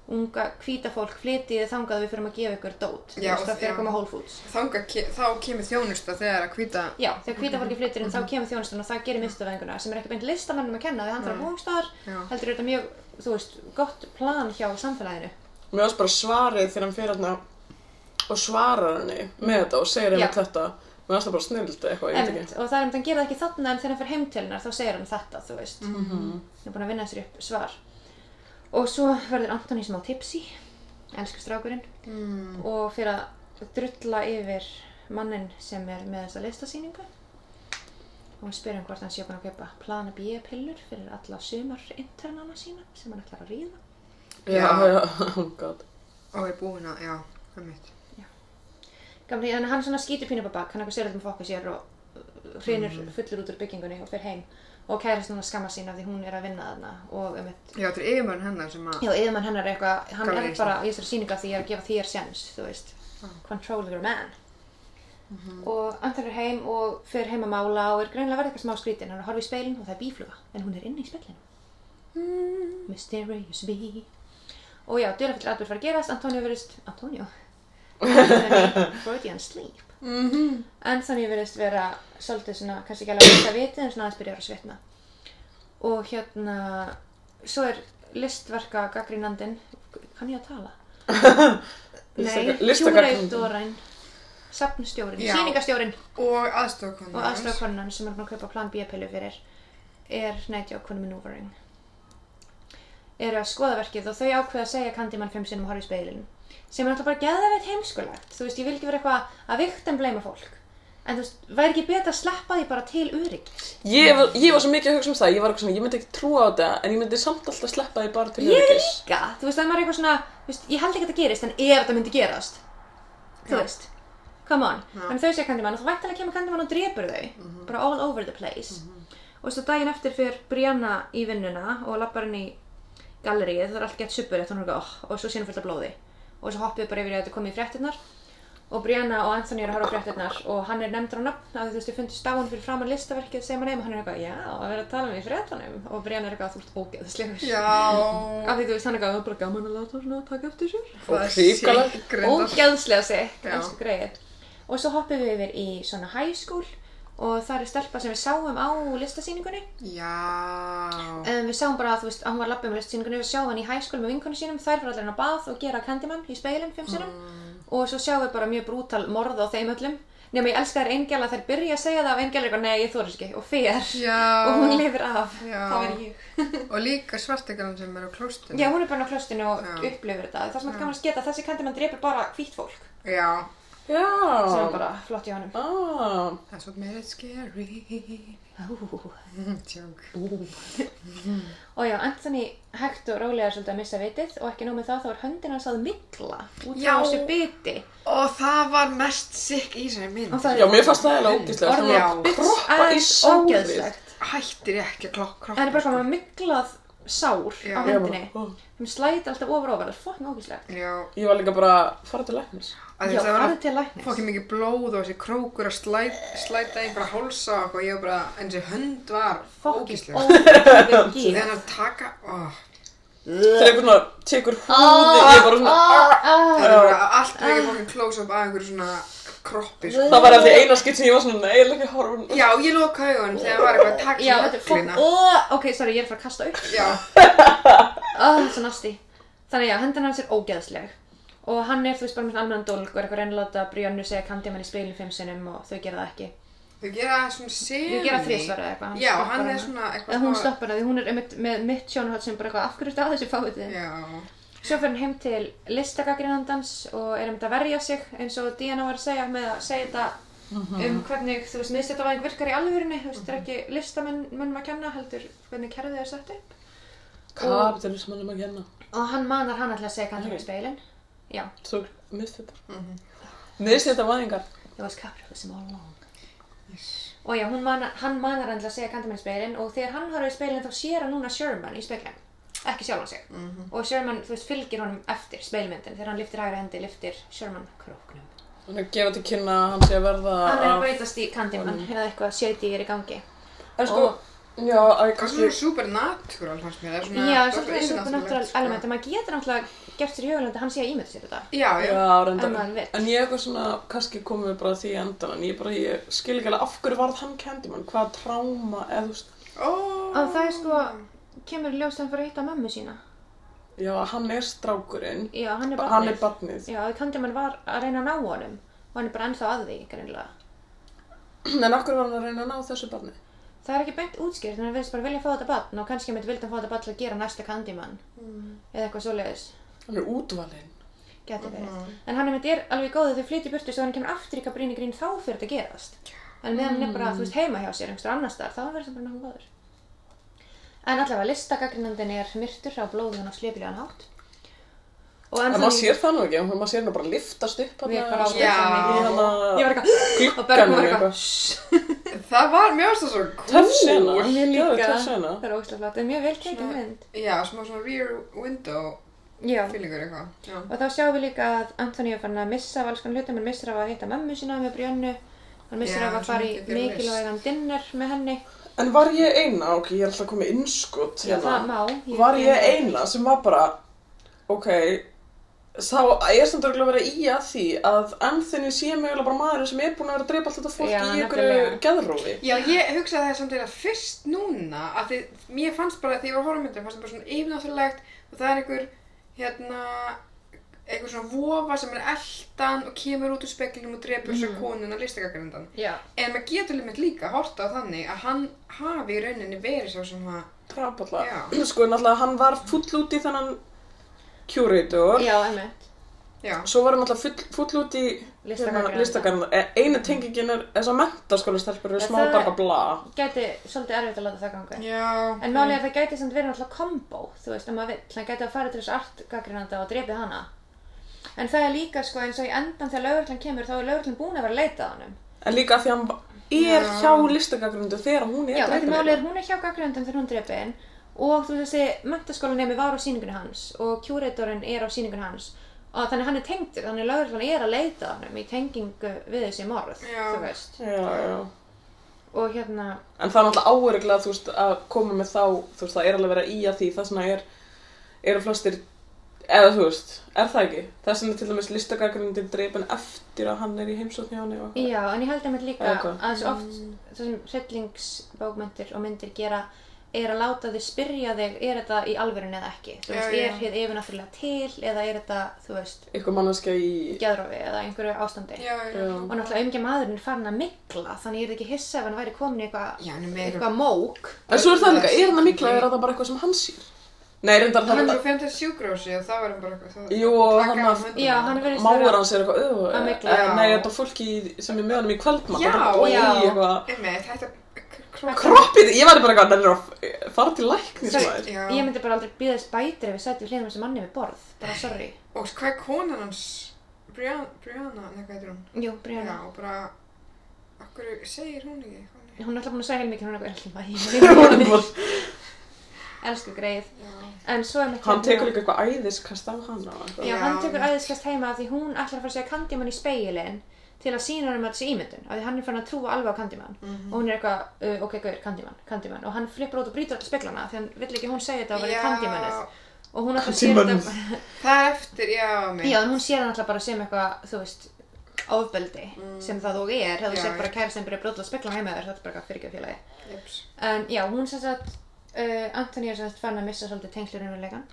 unga hvíta fólk flytið þangað að við fyrir að gefa ykkur dót þú Já, veist það fyrir já. að koma Whole Foods þanga, þá kemur þjónusta þegar að hvíta. Já, þegar hvíta fólki flyttir inn þá kemur þjónustan og það gerir mistavæðinguna sem er ekki beint listamannum að kenna því hann þarf hóngstæðar Já. heldur er þetta mjög, þú veist, gott plan hjá samfélaginu Mér varst bara svarið þegar hann fyrir hérna og svarar henni með þetta og segir henni Já. þetta Mér varst það bara snillt eitthvað, ég veit Einmitt, ekki og það er um þannig að gera það ekki þarna en þegar hann fer heim til hennar þá segir hann þetta, þú veist mm Mhm. er búin að vinna sér upp svar og svo verður Antoni smá tipsi elsku strákurinn Mm. og fyrir að drulla yfir mannin sem er með þessa listasýningu og hann spyr hann hvort hann sé búin að kaupa plana B-pillur fyrir alla sumar internana sína sem hann ætlar að ríða Já, Já. já, oh god Og er búin að, já, það er mitt. Gamli, en uh, Mm. hann svona skýtur pínu upp á bak, hann eitthvað sér þetta með fokka sér og hrinur fullur út úr byggingunni og fer heim. og kærast núna skamma sín af því hún er að vinna þarna og um Já, þetta er yfirmann hennar sem að Já, yfirmann hennar er eitthvað, hann Gaf er þér bara í þessari sýningu af því ég er að gefa þér sens, þú veist. Control your man. Og antalur heim og fer heim að mála og er greinilega að verða eitthvað smá skrítin. Hann er að horfa í speilin og það er bífluga, en hún er inni í speilinu. Mysterious bee. Og já, dyrafell atbyrð fara að gerast, Antonio verðist, Antonio? Freudian sleep. Anthony verðist vera svolítið svona, kannski ekki alveg að vita vitið, en svona aðeins byrjar að svitna og hérna svo er listverka gaggrínandin kann ég að tala? Nei, Listaka- listagagnrýnandinn. hjúrautdórain safnstjórin, Já. sýningastjórin Og aðstofakonan og hans. aðstofakonan sem er búin að kaupa plan B-pillu fyrir er nætjókun maneuvering eru að skoða verkið og þau ákveða að segja Candyman fimm sinnum og horfa í speilin sem er alltaf bara geðaveit heimskulegt þú veist, ég vil ekki vera eitthvað að viktan bleima fólk en þú veist, væri ekki betra að sleppa því bara til öryggis Ég, var- ég var svo mikið að hugsa um það, ég var eitthvað svona, ég myndi ekki trúa á þetta, en ég myndi samt alltaf sleppa því bara til Ég öryggis. líka, þú veist, það er eitthvað svona, þú veist, ég held ekki að þetta gerist, en ef þetta myndi gerast, þú Já. veist, come on. Já. Mhm. En þau sé Candyman og þá væntalega kemur Candyman og drepur þau, bara all over the place. Og svo daginn eftir fyrir Brianna í vinnuna og lappar henni í galleríið, það er allt gett suppulegt, hún er eitthvað, oh, og svo sé hún fullt af blóði. Og svo hoppið bara yfir í að þetta komið í fréttirnar og Brianna og Anthony eru að horfa á fréttirnar og hann er nefndur á nafn að þú veist, ég fundi stáin fyrir framar listaverkið sem hann heim og hann er eitthvað, já, að vera að tala um í fréttunum og Brianna er eitthvað, þú ert ógeðslegur Já af því þú veist hann er gæðið bara gaman að láta svona taka eftir sér Og hrikalegt. Ógæð ógæðslega sick, Já. elsku greið og svo hoppum við yfir í svona high school og það er stelpa sem við sáum á listasýningunni Já um, við sáum bara að þú veist að hún var lappið með listasýningunni og sáum hann í high school með vinkonu sínum þær fyrir allir hann á bað og gera Candyman í speilin fimm sinum Mm. og svo sjáum við bara mjög brútal morð á þeim öllum nema ég elska þær engjala þær byrja að segja það og engjala er eitthvað nei ég þóri ekki og fer Já og hún lifir af Já. það var ég Og líka svartegalan sem er á klóstinu Já, hún er bara á klostinu og Já. upplifir þetta. Það sem er gaman að sketa, þessi kandi mann drepur bara hvítt fólk. Já Já. Sem er bara flott í honum. Ah, That's what made it scary Og Tjók já, Anthony hægt og rólega er svolítið að missa vitið og ekki nóg með það, þá er höndin hans að mikla út frá Já. þessu biti. Og það var mest sikk í þessari mynd Og það já, mér fannst það eiginlega ógíslega. Orðið Já. bitch Kroppa í ass sárið. ógeðslegt. Hættir ekki að klokk En það er bara svona miklað sár Já. á Já, hendinni. Hún slæti alltaf ofur ofar, það er fokkin ógeðslegt. Já Oh. Ég var líka bara að fara til læknis. að Já, Það var farið til læknis. fokkin mikið blóð og þessi krókur að slæt, slæta einhverja hálsa og eitthvað, ég var bara, en þessi hönd var Fokkin ógíslega. ógeðslegt. Þegar gír. hann taka, ó, Þegar einhvern veginn tekur húði, Ah. ég bara svona, það er bara allt mikið fokkin close-up að einhverju svona kroppi, sko. það var eftir eina skipt sem ég var svona, nei, ég vil ekki horfa. Já, ég loka augunum þegar hann var eitthvað að taka Já, svona þetta er fokkin... höglina. Ok, sorry, ég er að fara að kasta upp. Já, Ah, svo nasti. Þannig já, hendina hans er ógeðsleg. Og hann er, þú veist, bara með almennan dólg og er eitthvað reynláta Brjönnu segja Candyman í speilin fimm sinnum og þau gera það ekki. þau gera svona senu. Þau gera þrísvar eða eitthvað. Já, stoppar hann er hana. svona eitthvað Eða hún smá- stoppar það, því hún er einmitt með mitt sjónarhald sem bara eitthvað af hverju stað þessi fáið þið. Já, Svo fyrir hann heim til listagagrinandans og er einmitt að verja sig eins og Diana var að segja með að segja þetta Mhm. um hvernig, þú veist, miðstættavæðing virkar í alvörinni, þú veist, það er ekki listamennum að kenna heldur hvernig kerfið er sett upp. Kapitalismannum að kenna. Og hann manar hann alltaf að segja Candyman í speilin. Mhm. Já, Svo miðstættar. Mhm. Miðstættar væðingar. It was capitalism all along. Yes. Og já, hún manar, hann manar hann til að segja Candyman í speilin og þegar hann horfir í speilin þá sér hann núna Sherman í speilin, ekki sjálfan sig. Og Sherman, þú veist, fylgir honum eftir speilmyndin þegar hann liftir hægri hendi, liftir Sherman króknum. Hann er að gefa til kynna að hann sé að verða Hann er að af... breytast í Candyman eða ah. eitthvað shady er í gangi. En sko, já, að það er kannski... svona supernatural, fannst mér, það er svona... Já, það er svolítið eins og innatúrlegt, náttúrulega sko. element, en maður getur náttúrulega gert sér í hugulandi að hann sé að ímynda sér þetta. Já, já, Já, reyndar. En maður vill. En ég eitthvað svona, kannski komum við bara að því í endan, en ég bara, ég skil ekki alveg af hverju varð hann Candyman, hvaða tráma, eða þú veist, ó. Og það er sko, kemur í ljós þegar hann fyrir að hitta mömmu sína. já, hann er strákurinn, Já, hann er ba- barnið. hann er barnið. Já, Candyman var að reyna að ná honum og hann er bara ennþá að því, greinlega. En af hverju var hann að reyna að ná þessu barni? Það er ekki beint útskýrt, en hann viðst bara vilja fá þetta barn og kannski mitt vildi hann fá þetta barn til að gera næsta Candyman eða eitthvað svoleiðis, Hann er útvalinn. geti verið. En hann einmitt er alveg góð að þau flytja í burtu svo hann kemur aftur í Cabrini Green þá fyrir þetta gerast. En meðan hann er bara, þú veist, heima hjá sér, einhverstað annars þar, þá verður það bara náttúrulega góður. En allavega, listagagrinandin er myrtur á blóðun og slepilegan hátt. Og En maður sér það nú ekki, en maður sér hann bara liftast upp Við bara hann ákveðum Já. svo mikið. hana Ég var eitthvað, og Bergman var eitthvað, "Shh." Það var mjög svo svo cool. Töff sena. Mér Geðveik líka. töff sena. Það er óslega flott, það er mjög vel tekið Svona- mynd. Já, smá svona rear window Já. feelingur eitthvað. Já. Og þá sjáum við líka að Antoni er farin að missa af alls konar hlutum, hann missir af að hitta mömmu sína með Brjönnu, hann missir Já, af að svona fara í mikið fyrir list. mikilvægan dinner með henni. En var ég eina, ok, ég er alltaf komið innskot hérna. Já, það má. Var ég eina sem var bara, ok, þá ég er samt örugglega að vera í að því að Anthony sé mögulega bara maður sem er búin að vera að dreipa allt þetta fólk Já, í einhverju nefnilega. geðrófi. Já, ég hugsaði það samt eða fyrst núna að því, mér fannst bara að því ég var horfmyndin fannst það bara svona yfirnáttúrulegt og það er einhver hérna einhver svona vofa sem er eldan og kemur út úr speklinum og drepur mm. svo Mhm. konuna listakakrendan Já, en maður getur limit líka horta á þannig að hann hafi í rauninni verið svo sem að Drap Já. alltaf. Sko, náttúrulega, hann var full út í þennan curator. já, emmitt. já, Svo var hann alltaf full, full út í hérna, Listakanngreinanda. listakarna. Eina tengingin er þess að mentaskóla stelpur eru En smá það- bara bla. Gæti svolítið erfitt að láta það ganga. já En málið er að það gæti samt verið náttúrulega kombo, þú veist, ef maður vill, hann gæti að fara til þess artgaggrinanda og drepið hana. En það er líka, sko, eins og í endan þegar lauruglan kemur, þá er lauruglan búin að vera að leita að honum. En líka af því að hann er Já. hjá listagagrundu þegar hún er Já, þetta drepin. málið er, hún er hjá gaggrindum þegar hún drepið hinn og þú veist, þessi mentaskólanemi var á síningunni hans og kjúreitorinn er á síningunni hans og þannig hann er tengdur, þannig lauruglan er að leita að honum í tengingu við þessi morð, Já. þú veist. Já, já. Og hérna, En það er náttúrulega áörygglega, þú veist, að koma með þá, þú veist, það er alveg verið í að því, þess vegna er, eru flestir, eða þú veist, er það ekki? Þess vegna er til dæmis listagagrindin dreipin eftir að hann er í heimsókn hjá henni og eitthvað. Já, en ég held einmitt líka Eða hvað? að svo oft það sem hryllingsbókmyndir og myndir gera er að láta þig spyrja þig er þetta í alvörun eða ekki þú Já, veist, já. er hér yfirnáttúrulega til eða er þetta, þú veist, Eitthvað manneskja í, geðrofi eða einhverju ástandi já, já, Já. og náttúrulega umgja maðurinn er farin að mikla þannig ég er ekki hissa ef hann væri komin í eitthvað já, en meira eitthvað mók en svo er það líka, er hann að mikla, er það bara eitthvað sem hann sýr? Nei, reyndar hann það, er svo fyrir til sjúkrósi og þá er hann bara eitthvað Jú, og hann að- Já, hann verðist máur hans er eitthvað, öðu, Að mygla. nei, þetta er bara fólki í- sem er með honum í kvöldmann, Já, það er bara, oj, já. eitthvað, einmitt, þetta kroppið, ég var bara eitthvað, nennir að fara til læknis Sorry, maður. Já. ég myndi bara aldrei býðast bætir ef ég sætti við hliðum þessi manni við borð bara sorry, og hvað er konan hans Brianna, Brianna, nei hvað heitir hún jú, Bríana Já, og bara, okkur segir hún ekki eitthvað? hún er alltaf búin að segja heilmikið hún er eitthvað Hún er bara- elsku greið Já. en svo er mitt hérna- Hann tekur líka eitthvað æðiskast á hana og eitthvað. Já, Já. hann tekur æðiskast heima af því hún ætlar að fara að segja Candyman í speilin til að sína hann um alls ímyndun af því hann er fann að trúa alveg á Candyman Mhm. og hún er eitthvað, uh, ok, gaur, Candyman, Candyman og hann flippur út og brýtur alltaf speglana því hann vill ekki að hún segja þetta að vera Já. Candymanið og hún alltaf sér Candymanið. þetta Það er eftir, já, mig. já, en hún sér hann alltaf bara sem eitthvað, þú veist ofbeldi sem það og er Mm. hefur Já, sér bara já. kæra sem byrja að brjóta alltaf speglana heima þér þetta er bara eitthvað fyrirgjöfélagi Jeps. En já, hún sem sagt, uh, Antoni er sem sagt fann að missa svolítið tengslurunarleikan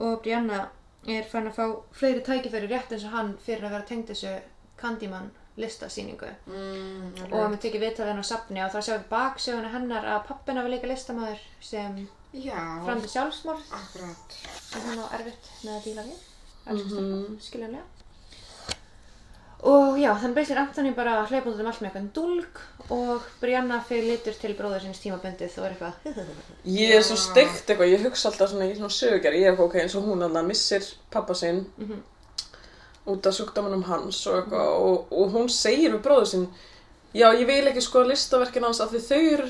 og Brianna er fann að fá fleiri tækifæri rétt eins og hann fyrir að vera tengd þessu Candyman listasýningu Mm, og hann tekið viðtalið hann á safni og þá sjáum við baksöguna hennar að pappina var líka listamaður sem já, framdi sjálfsmorð akkurat. sem hann á erfitt með að díla við, elsku mm Mhm. skiljanlega. Og já, þannig beysir Antoni bara að hlaupa út um allt með eitthvað dúlg og Brianna fyrir litur til bróður sinns tímabundið og er eitthvað Ég er svo steikt eitthvað, ég hugsa alltaf svona, ég er svona sögurgerð, ég er eitthvað ok, eins og hún alltaf missir pappa sinn út af sjúkdómanum hans og eitthvað og, og hún segir við bróður sinn, já ég vil ekki skoða listaverkin hans af því þau eru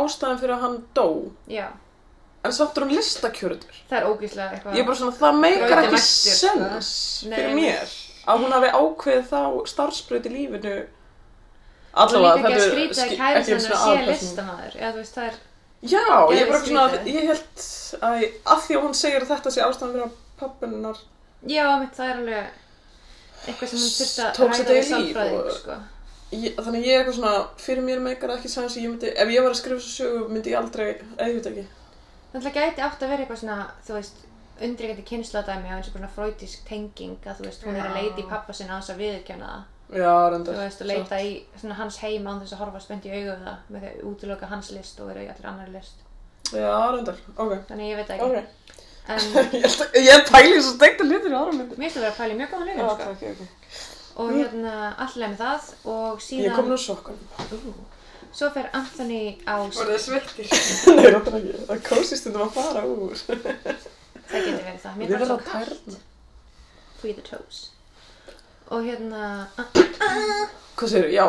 ástæðan fyrir að hann dó, Já, en samt er hún listakjörður. það er ógíslega eitthvað Ég er bara svona, það meikar Brautin ekki eftir, sko. sens Nei, fyrir nei. mér að hún hafi ákveðið þá starfsbröð í lífinu allavega þetta allavega er þetta skrítið að ski- kærast einu hennar sinni sé aðalpersónan. listamaður eða þú veist það er Já, ég Geðveikt er bara svona að skrítið. ég held að að því að hún segir að þetta sé ástæðan fyrir að pappunar já, mitt, það er alveg eitthvað sem hún þurfti að Tók ræða þetta í við líf sálfræðing og- sko. ég, þannig að ég er eitthvað svona fyrir mér meikar það ekki sæns ég myndi, ef ég var að skrifa þessu sögu myndi ég aldrei, eða ég veit ekki þannig að gæti átt að vera eitthvað svona þú veist, undryggjandi kynslaðdæmi á eins og bara svona fröytísk tenging að þú veist, hún er að Já. leita í pappa sinna á þess að viðurkjöna það Já, þú reyndar veist, og leita í svona, hans heima án þess að horfa spennt í augu við það með því að útiloka hans list og vera í allir annar list Satt. Já, reyndar, ok, þannig að ég veit það ok ekki en Ég held að- Ég pæli þessu steikta litur í ára myndi mér finnst það vera að pæla í mjög góðan Já, lögum sko. takk, ég ekki og hérna, allir með það og Ég síðan kom nú sokkan Ú. Svo fer Anthony á Voru það sveittir? Nei, reyndar ekki, það kósi stundum að fara úr Það getur verið það. Mér fannst Við verðum það að kallt. tærna Free the toes. Og hérna, Hvað segir, já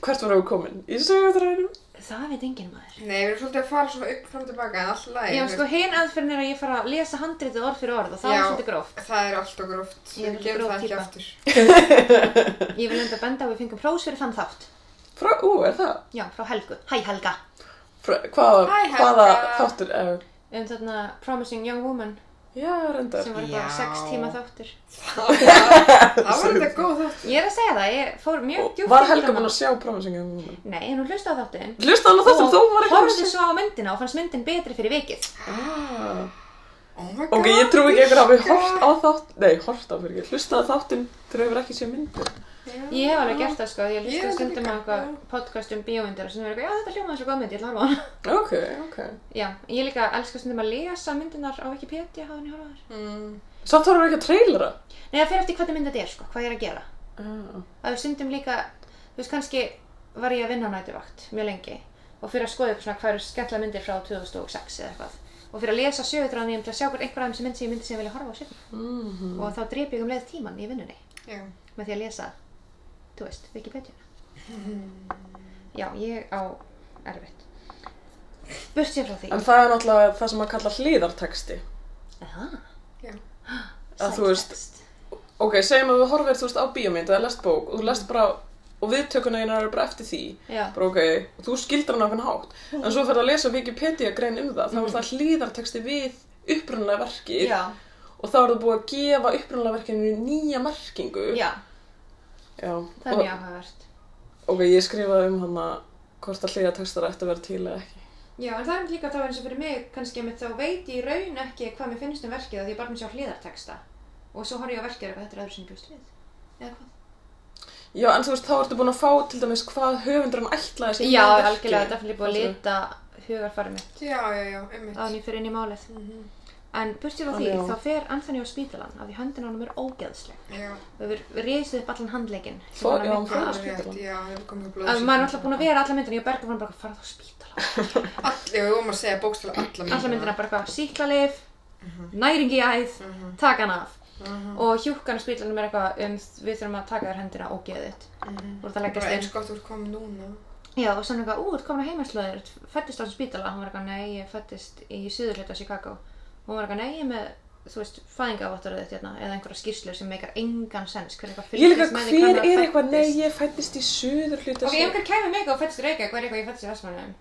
Hvert voru við komin? Í sögutræðinum? Það veit enginn maður. Nei, við erum svolítið að fara svona upp fram og tilbaka en alltaf Já, sko, hin aðferðin er að ég fara að lesa handritið orð fyrir orð og það Já. er svolítið gróft. Það er alltaf gróft, Ég er við gerum gróf það ekki típa. aftur. Ég vil enda að benda að við fengum prós fyrir þann þátt. Frá, ú, er það? Já, frá Helgu. Hæ Helga. Frá, hvaða, Hæ, Helga. hvaða þáttur er? Um þarna Promising Young Woman Já, reyndar. sem var bara Já. 6 tíma þáttur. Það var- það var þetta góð þátt. Ég er að segja það, ég fór mjög Og djúpt var Helga búin að sjá promising um hún? Nei, en hún hlustaði á þáttin. Hlusta hann á þáttum þó hún var ekki að horfði svo á myndina og fannst myndin betri fyrir vikið. Ah. Oh my god. Ok, ég trúi ekki einhver að við hort á þátt, nei, hort á fyrir ekki, hlustaði á þáttinn þegar við ekki séð myndir. Ég hef alveg gert það sko, ég Ég hlustaði reyndar stundum á líka, eitthvað já. podcast um bíómyndir og sem verður eitthvað, já þetta hljómaði svo góð mynd, ég ætla að horfa á hana. Ok, ok. Já, ég líka elska stundum að lesa myndinar á Wikipedia hafa henni horfa á þær. Mm. Samt þarf ekki að trailera. Nei, það fer eftir hvernig mynd þetta er sko, hvað ég er að gera. Ah. að við stundum líka, þú veist kannski var ég að vinna á nætuvakt mjög lengi og fyrir að skoða eitthvað svona hvað eru skemmtilega myndir frá 2006 eða eitthvað og fyrir að lesa sögutráðan ég um til að sjá hvort einhver aðeins sem mynd sem ég myndi sem ég vilja horfa á sérna Mm og þá drep ég um leið tíman í vinnunni Já. með því að lesa, þú veist, Wikipedia Hmm. Já, ég á erfitt Burt sér frá því En það er náttúrulega það sem að kalla hliðarteksti. Aha, Já. Að þú veist- Sidetext. Ok, segjum að þú horfir, þú veist, á bíómynd eða lest bók og þú lest bara, og viðtökuna einar eru bara eftir því, Já, bara ok, og þú skildar hann á hvern hátt. Mm. En svo ferð að lesa Wikipedia grein um það, þá er það hliðarteksti við upprunalega verkið já, og þá er það búið að gefa upprunalega verkinu nýja merkingu. já, Já, það er og- mjög áhugavert Ok, ég skrifaði um hann að hvort að hliða textar ætti að vera til eða ekki. Já, en það er líka þá eins og fyrir mig kannski að þá veit ég í raun ekki hvað mér finnst um verkið af því ég bara mér sjá hliðarteksta og svo horf ég á verkið og eitthvað, þetta er öðru sem ég bjóst við eða hvað? Já, en þú veist, þá ertu búin að fá til dæmis hvað höfundurinn ætlaði sér Já, með verkinu. algjörlega, þetta er búið að lita hugarfarið mitt Já, já, já, einmitt. að hann ég fyrir inn í málið Mhm. en burstir á Þannig því, já. þá fer Anthony á spítalan af því höndin á hann er ógeðsleg Já, og við risið upp allan handlegin Fó- já, hann fór á alveg spítalann. rétt, já, það er komið blóð. að maður er alltaf búin að vera alla myndina ég og Bergur fann bara að fara þá á spítalan All, já, við vorum að segja bókstala alla myndina. alla myndina bara eitthvað síklarleif næring í æð, taka hann af Mhm. og hjúkkan á spítalanum er eitthvað um við þurfum að taka þér hendina og geðið þitt Mhm. og það Bara leggast eins inn gott úr komið núna. já og sann eitthvað, ú, þú komin að heimaslöður fættist á þessum spítala, hún var eitthvað, nei, ég fættist í suðurhluta Chicago hún var eitthvað, nei, ég er með, þú veist, fæðingavottaröðu þitt hérna, eða einhverja skýrslur sem meikar engan sens, hver eitthvað Ég líka, fylgist með því hver hvenær er þú eitthvað, nei, fæddist? ég fættist í suður hluta ok, ef einhver kæmi mig og fættist í Reykjavík, hvað er eitthvað, ég fættist í Vestmannaðum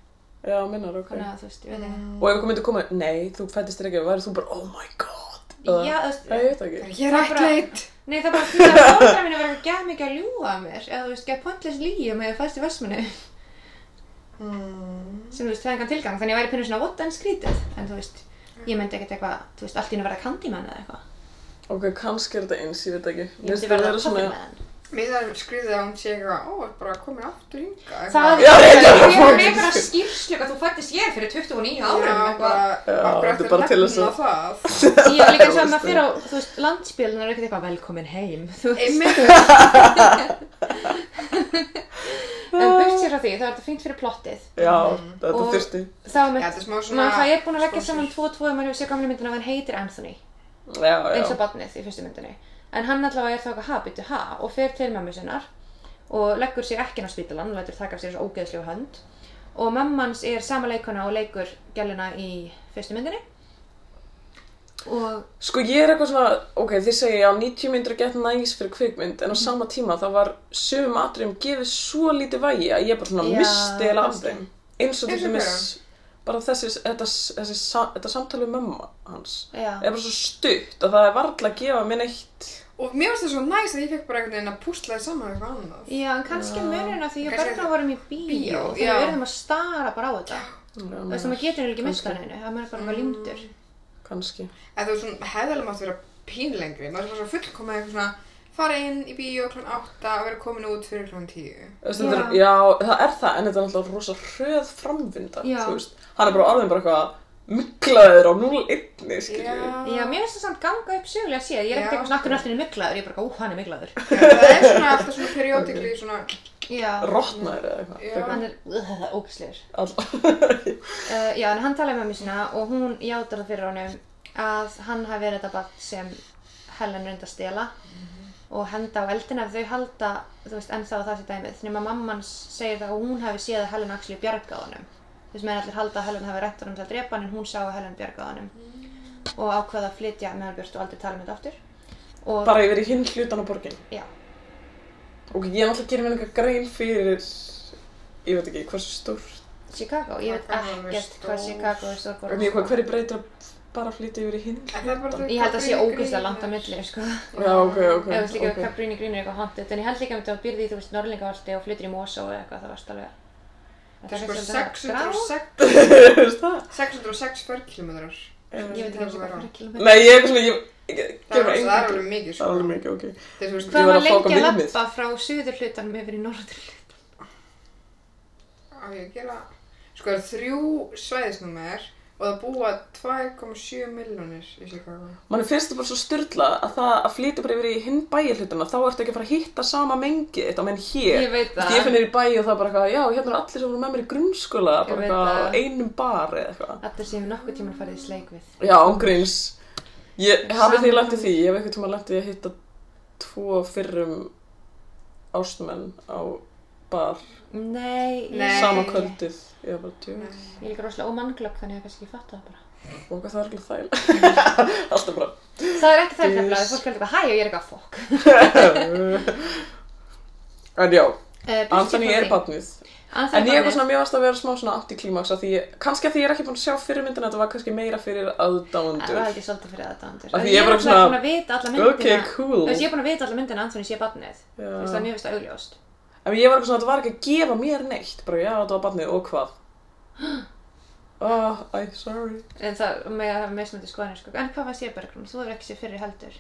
Já, minnar, ok. þannig að, þú veist, ég veit ekki Mm. Og ef einhver myndi koma, nei, þú fættist þér ekki, væri þú bara, oh my god. eða- já, þú veist, Nei, ég veit það ekki. Ég er Það er bara- ætleitt. nei, það er bara fyrir að fóldra mín að vera gæð mikið að ljúga að mér eða, þú veist, gæð pointless lígi með að fættist í Vestmannaðum Mm. sem, þú veist, það er engan tilgang, þannig að ég væri pínu svona, what, en skrítið. En, þú veist, ég myndi ekkert eitthvað, þú veist, allt í einu verða Candyman eða eitthvað. Ok, kannski er þetta eins, ég veit Ég ekki. myndi Mér finnst verða það vera Puffin svona- Man. Mér þarf skriðið að hún sé eitthvað, ó, er bara komin aftur hinga. Það Já, er reyndar, það fucking fyrir einhverja shit. skýrslu að þú fættist ég fyrir 29 árum eitthvað. Já, bara, þetta er bara til þess að- að... Ég var líka eins og að maður Þú veist fyrir á, þú veist, landspílun er ekkert eitthvað velkomin heim, þú veist. Einmitt, En burt sér frá því, það er þetta fínt fyrir plottið. Já, þetta Mm. Og- þurfti. Þá Já, er mitt, þetta er smá svona... maður það er búin að leggja sponsor. saman 2-2 um að hefur sér gamlega myndina að hann heitir Anthony, Já, eins já. og barnið í fyrstu myndinni. En hann allavega er þá eitthvað ha, byttu ha, og fer til mammu sinnar og leggur sér ekki á spítalan, lætur taka af sér þessu ógeðslegu hönd. Og mammans er sama leikona og leikur gæluna í fyrstu myndinni. Og Sko ég er eitthvað svona, ok, þið segja já, 90 myndir að geta næs fyrir kvikmynd Mm. en á sama tíma þá var sömum atriðum gefið svo lítið vægi að ég bara svona Já, misti eða af kannski. þeim eins og til Eins og dæmis bara þessi, þetta, þessi, sa- þetta samtal við mömmu hans Já. er bara svo stutt að það er varla að gefa mér neitt Og mér finnst það svo næst að ég fekk bara einhvern veginn að púsla þér saman við eitthvað annað. Já, en kannski munurinn af því að Kannski Bergrá þetta- varum í bíó Bíó, og já. þegar við verðum að stara bara á þetta Þú veist, já, maður getur ekki mista hann einu, það maður er bara eitthvað límdur kannski Eða þú veist, svona hefðalega mátt vera pínlengri. Maður er bara svo fullkomið eitthvað svona fara inn í bíó kl. 8 og vera komin út fyrir kl. 10. Þú veist, þetta er, Já. já, það er það en þetta er alltaf rosa hröð framvinda Já. þú veist, hann er bara orðin bara eitthvað miklaður á 0-1 skilju Já, mér finnst það samt ganga upp sögulega séð, ég er ekkert Já. eitthvað snakkur alltaf miklaður, ég er bara, ú, hann er miklaður Já, það er svona alltaf svona periódikli svona... Já, rotnaður eða Já. eitthvað hann er uh, ógislegur All... uh, Já, en hann talaði með mér sína og hún játar það fyrir honum að hann hafi verið þetta barn sem Helen reyndi að stela og henda á eldina ef þau halda þú veist, ennþá að það sé dæmið nema mamman segir það að hún hafi séð að Helen Axley bjargað honum þess meðan allir halda að Helen hafi reynt honum til að drepa hann en hún sá að Helen bjargað honum og ákvaða að flytja meðan björst og aldrei tala um þetta aftur og Bara yfir í hinn hlutan á borgin. já, Og ég náttúrulega gerir mér einhver grein fyrir, ég veit ekki, hversu stórt. Chicago, ég veit Það er alveg ekkert hvað stór- Chicago er stór En borg ég hvað, sko. hverju breytir að bara flytja yfir í hinn? En það er bara þau- ég held að sé Gabriel ógeðslega langt á Green milli sko. Já, ok, ok. Ég veist líka ok. okay. Cabrini Green er eitthvað haunted en ég held líka um þetta að byrði í þú veist Norlingaholti og flyttir í Mosó eða eitthvað það varst alveg Það er sko kannski svolítið 606 að grá. Þú veist það? 606 förkilometrar. Ég veit ekki eins og hvað Það fyrir Nei, ég er eitthvað svona, ég, ég Það er ger mér það er engin. alveg mikið, Það sko. er alveg mikið, ok. Þetta er, þú veist, Ég Hvað var var að fá okkur lengi að viðmið. lappa frá suður hlutanum yfir í norður á ég að gera... Sko, það eru þrjú svæðisnúmer og það búa 2,7 milljónir í Chicago. Manni finnst það bara svo styrla að það að flytja bara yfir í hinn bæjarhlutana, þá ertu ekki að fara að hitta sama mengi þetta, menn hér. Ég veit Þú veist, það. Ég finn þér í bæ og það er bara eitthvað, já, hérna er allir sem voru með mér í grunnskóla, bara veit eitthvað á það. einum bar eða eitthvað. Þetta sem við nokkuð tíma farið í sleik við Já, ángríns. Ég hafi því Saman- lendið því, ég hef eitthvað tíma lendið að hitta tvo fyrrum ástumenn á bar, Nei, ég- Nei. sama kvöldið. Ég var bara tjóð. Ég er líka rosalega ómannglögg þannig að ég kannski ekki fatta það bara Og hvað það er ekki þægilega. Alltaf bara, Það er ekki þær Yes. nefnilega, fólk heldur bara hæ og ég er eitthvað fokk en já, Eh, burtséð Anthony frá er því. badnið Anthony En ég var barnið. svona, mér varst að vera smá svona antiklimax að því, ég- kannski að því ég er ekki búin að sjá fyrirmyndina þetta var kannski meira fyrir Það var aðdándur ekki svolítið fyrir aðdáendur. Af því Að ég er Ég er bara bara svona svona- búin að vita alla myndina. Ok, cool Þú veist, ég er búin að vita alla myndina að Anthony sé barnið. Þú veist, það er Já. mjög veist augljóst. En ég var eitthvað svona, þetta var ekki að gefa mér neitt bara já, þetta var badnið og hvað Ah, æ, sorry En það með að hafa mismunandi skoðanir, sko. En hvað fannst ég bergrún? Þú hefur ekki séð fyrir heldur.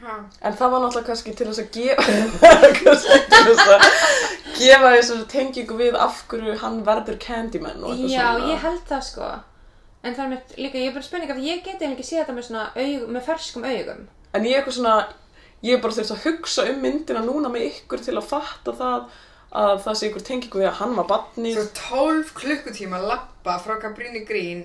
Ha? En það var náttúrulega kannski til þess að gefa kannski til þess að gefa þessar tengingu við af hverju hann verður Candyman og eitthvað Já, svona ég held það, sko. En það er mitt líka, ég er bara spurning af því ég geti ekki séð þetta með svona aug, með ferskum augum. En ég er eitthvað svona, ég er bara þurft að hugsa um myndina núna með ykkur til að fatta það að það sé ykkur tengingu við að hann var barnið. Svo 12 klukkutíma lappa frá Gabrini Green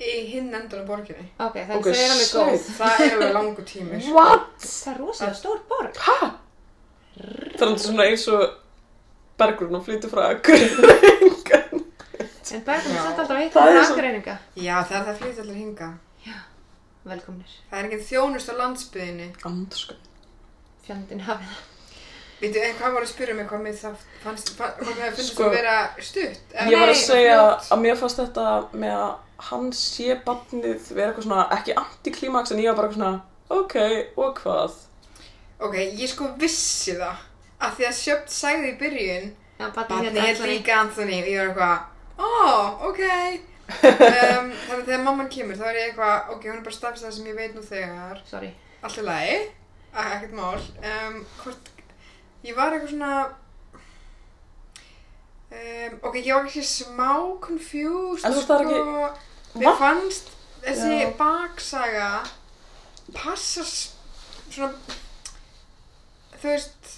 í hinn endan á borginni. Ok, þannig Ok, okay, þau eru alveg shit. góð. Það er alveg langu tími. sko. What? Það er rosalega stór borg. Hæ? Það er svona eins og bergrun og flyttu frá akureyringan. En bergrún Já. er samt alltaf veit Það það er er svo- akureyninga. Já, það er það flytt allir hinga. Velkomnir. Það er enginn þjónust á landsbyðinni. Andurska. Fjandinn hafið það. Veitu, en hvað voru að spyrja mig hvað mér það fannst, fann, hvað mér finnst Sko, að vera stutt? eða- Ég var að Nei, segja fljótt. að mér fannst þetta með að hann sé barnið vera eitthvað svona, ekki antiklimaks en ég var bara eitthvað svona, ok, og hvað? Ok, ég sko vissi það. Af því að Sjöpt sagði í byrjun, Já, barnið Batni hérna hér Anthony. líka Anthony og ég var eitthvað, ó, ok. um, þannig að þegar mamman kemur þá er ég eitthvað, ok, hún er bara stafst það sem ég veit nú þegar. Sorry. allt í lagi, e- ekkert mál um, hvort, ég var eitthvað svona um, ok, ég var ekki smá confused En þú veist, það er ekki Va? mér fannst þessi Já. baksaga passa s- svona þú veist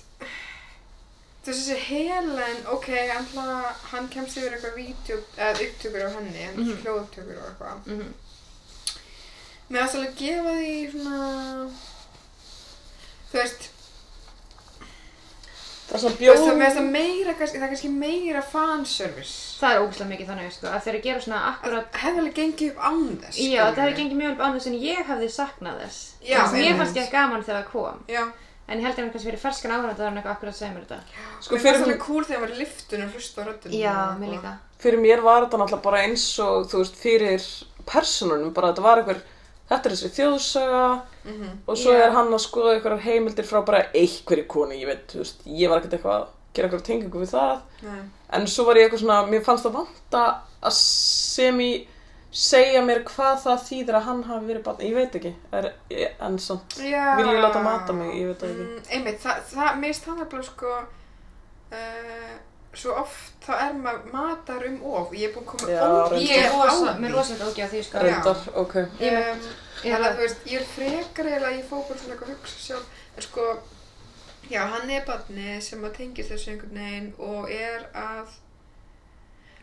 þú veist þessi Helen ok, hann, ætla- hann kemst yfir eitthvað vídeo, eða upptökur af henni mm Mhm. hljóðupptökur og eitthvað Mm Mér ást alveg að gefa því svona... Þú veist, Það er svona þú veist það mér bjóð. finnst það meira, kannski, það er kannski meira fanservice. Það er ógustlega mikið þannig, sko, að þeir eru að gera svona akkurat Það hefði alveg gengið upp án þess. Já, skilurðu. það hefði gengið mjög vel á þess en ég hefði saknað þess. Já, Þess, mér einmitt. fannst ég gaman þegar það kom. Já, En ég held að hann kannski fyrir ferskan áhverjandi að hann eitthvað akkurat segja mér þetta. Sko, mér fyrir- fannst alveg cool þegar maður er í liftun og hlusta á röddunum. Já, mér líka. fyrir mér var þetta náttúrulega bara eins og þú veist, fyrir personunum bara þetta var einhver, þetta er þessi þjóðsaga Mhm, og svo Já. er hann að skoða einhverjar heimildir frá bara einhverju konu ég veit, þú veist, ég var ekkert eitthvað að gera einhverja tengingu við það Nei. en svo var ég eitthvað svona, mér fannst það vanta að sem í segja mér hvað það þýðir að hann hafi verið barn, ég veit ekki er, ég- en samt, Já. Vil ég láta mata mig? Ég veit það ekki. Mm, einmitt, það, það, mér finnst það nefnilega sko... Uh, svo oft þá er maður matar um of. Ég er búin að koma Já, ó- reyndar. Ég er rosa, á mér því. er rosalega ógjáð því, sko. Reynd. reyndar, ok Ég með- Um, Ég Þannig að þú hef- veist, ég er frekar eða ég fór bara svona eitthvað að hugsa sjálf, en sko, já, hann er barni sem að tengist þessu einhvern veginn og er að,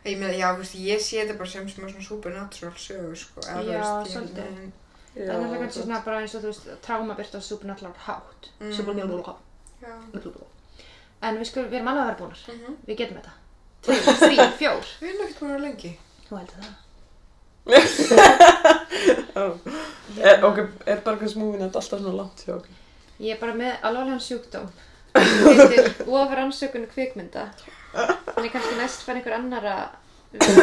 ég meina, já, þú veist, ég sé þetta bara sem sem svona supernatural sögu, sko, eða þú Já, veist, ég svolítið. einhvern veginn- Það er náttúrulega kannski svona bara eins og þú veist, tráma byrta á supernatural hátt. Mm. Supernatural Já. hátt. En við skulum, við erum alveg að vera búnar. Mhm. Við getum þetta. Tveir, þrý, fjór. Við erum ekkert búin að vera lengi. Þú heldur það? Er, ok, er Bergans múvin þetta alltaf svona langt hjá okkur? Ég er bara með alvarlegan sjúkdóm. Þetta heitir of rannsökun kvikmynda. Þannig kannski næst fær einhver annar að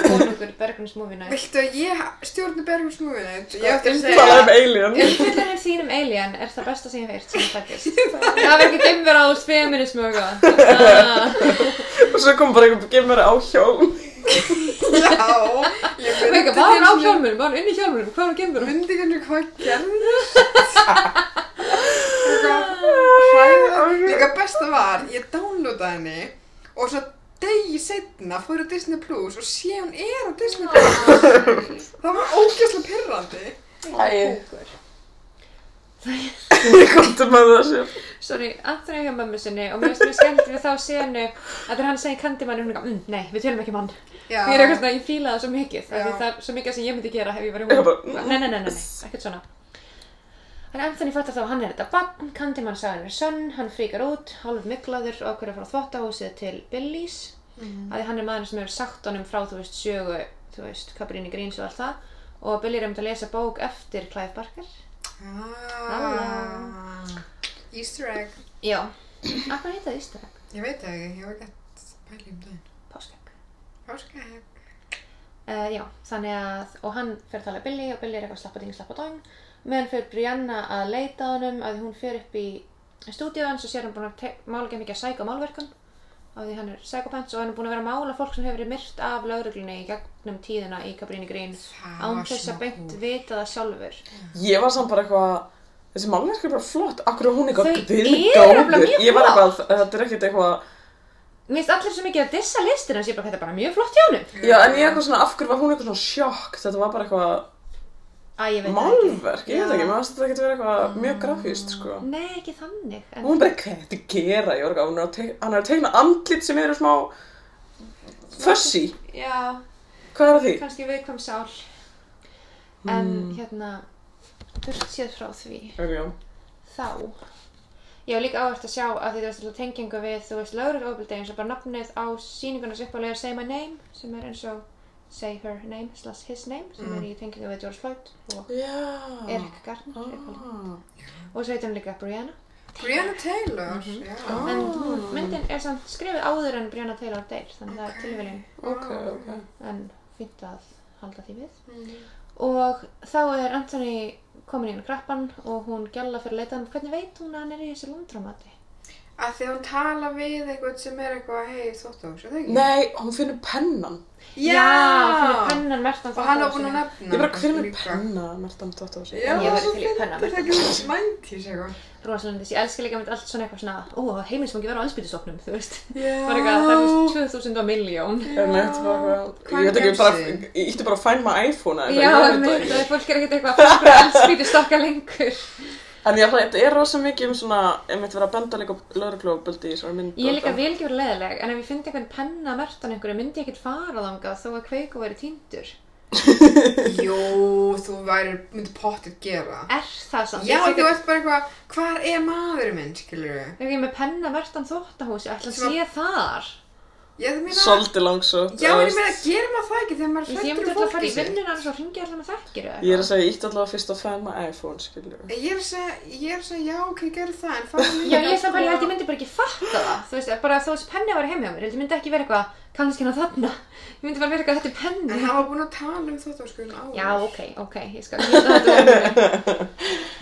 konungur bergnarsmúvina. Viltu að ég stjórni Bergmans múvina? Sko, ég átti að um segja... Talaði um alien. Umfyllunin þín um Alien er það besta sem ég hef heyrt sem fættist. Það var ekki dimmur á feminismu og eitthvað. Og svo kom bara einhver gemur á hjól. Já, ég Það var myndi eitthvað, var hann á ekki- hjálmunum, var hann inn í hjálmunum, hvað var hann gemur? myndi ekki henni hvað gerðist. Eitthvað hræðilegt. Líka besta var, ég downloadaði henni og svo degi setna fór ég á Disney Plus og sé hún er á Disney Plus. Ah. Það var ógæslega pirrandi. Æ. Kúkur. Komdu með það sér. Sorry, Anthony hjá mömmu sinni og mér finnst mjög skemmt við þá senu að þegar hann segir Candyman og hún er eitthvað, mm, nei, við tölum ekki um hann. Já. Mér er eitthvað svona, ég fíla það svo mikið, af því Já. það er svo mikið sem ég myndi gera hef ég verið Ég hún. bara, "Mm." Nei, nei, nei, nei, nei, ekkert svona. Þannig að Anthony fattar þá að hann er þetta barn, Candyman sagði hann er sönn, hann fríkar út, hálf miklaður og okkur að fara á þvottahúsið til Billy's. Mm. Því hann er maður sem hefur sagt honum frá, þú veist, sögu, þú veist, Cabrini Greens og allt það. Og Billy er um að lesa bók eftir Clive Barker. Ah. Easter egg. Já. Akkur heita það Ístarag? Ég veit það ekki, ég var ekki að pæla um daginn. Páskegg. Páska egg. Uh, já, þannig að, og hann fer að tala við Billy og Billy er eitthvað slappa ding, slappa dong meðan fer Brianna að leita að honum að því hún fer upp í stúdíu hans og sér hann búin að mála ekki mikið að sæka málverkan af því hann er psychopants og hann er búin að vera að mála fólk sem hefur verið myrt af lauruglunni í gegnum tíðina í Cabrini Green Það án var þess smá að beint kúl. vita það sjálfur Ég var samt bara eitthvað, þessi málverk er bara flott. Akkur er hún eitthvað Þau eru nefnilega guðgóður? mjög Ég var flott. eitthvað, þetta er ekkert eitthvað Mér finnst allir svo mikið að dissa listina hans, ég er bara, þetta er bara mjög flott hjá honum Já, en ég eitthvað svona, af hverju var hún eitthvað svona sjokk? Þetta var bara eitthvað Æ, ég veit það ekki málverk, ég veit ekki, Já. Mm. maður þetta getur verið eitthvað mjög grafíst, sko. Nei, ekki þannig Og hún bara, hvað er þetta að gera? Ég var eitthvað, hún er að teikna, hann er að teikna andlit sem eru smá fössi. Já, Hvað er að því? kannski viðkvæm sál en Hmm. hérna burt séð frá því Ok, já. þá ég var líka áhvert að sjá að því þú veist alltaf tengingu við þú veist lögrið ofbildi eins og bara nafnið á síningunars uppálega Say My Name sem er eins og Say Her Name slash His Name sem Hmm. er í tengingu við George Floyd og Já. Erik Ah. Garner uppálega. og svo heitir hún líka Brianna Brianna Taylor, Mhm. já. Ah. en hún- myndin er samt skrifið áður en Brianna Taylor deyr þannig það er tilviljun Ok, ok. en fínt að halda því við og þá er Anthony komin í hennu krappan og hún gjalla fyrir að leita hann hvernig veit hún að hann er í þessu lundramati Að því að hún tala við eitthvað sem er eitthvað, hei, þóttahús, er það ekki? Nei, hún finnur pennan. Já! fyrir pennan mertan Og hann var búinn að nefna. Ég bara, hver er kannski með líka. penna, um Mertan Dóttar? Já, Ég væri svo til í fyndið, penna, Það er ekki hún mæntís eitthvað. rosalendis, ég elska líka mynd allt svona eitthvað svona ó, heimilismangi verður á allsbytisofnum, þú veist Já. bara eitthvað, það er þú veist 2000 og miljón Ég veit bara, Hvað ég veit ekki, gerði bara, sig? ég ítti bara að find my iPhone eða já, eitthvað, ég veit það mynd, ekki. það er fólk er ekkert eitthvað að fara allsbytistokka lengur En ég ætla, þetta er rosa mikið um svona, ég myndi vera að benda líka lögreglóböldi í svona mynd. ég er og líka það. vil ekki vera leðileg, en ef ég fyndi einhvern penna mertan einhverju, myndi ég ekkert fara þangað þó að kveiku væri týndur Jú, þú væri, myndi pottið gera. er það samt? Já, Ég þú tekur- ert bara eitthvað, hvar er maðurinn minn, skilur við? Ef ég er með penna mertan þóttahúsi, ætla að Sem að- sé þar Ég það meina, Svolítið langsótt. já, þú en ég veist. meina, gerir maður það ekki þegar Ég maður ég hrættur myndi um alltaf að fara fólkið í sitt? vinnuna hans og hringja allar með þekkir eða Ég er að eitthvað. segja, ég ítti allavega fyrst að fan my iPhone, skilur við. Ég er að segja, ég er að segja, já, ok, gerðu það, en fara Já, ég er samt bara, ég held ég myndi bara ekki fatta það, þú veist, bara þó þessi penni var heima hjá mér, ég held ég myndi ekki vera eitthvað, kannski hann á þarna, ég myndi bara vera eitthvað, þetta er En penni. hann var búinn að tala um þóttahúsgöðun áður. Já, ok, ok, ég skal, ég þetta þetta vann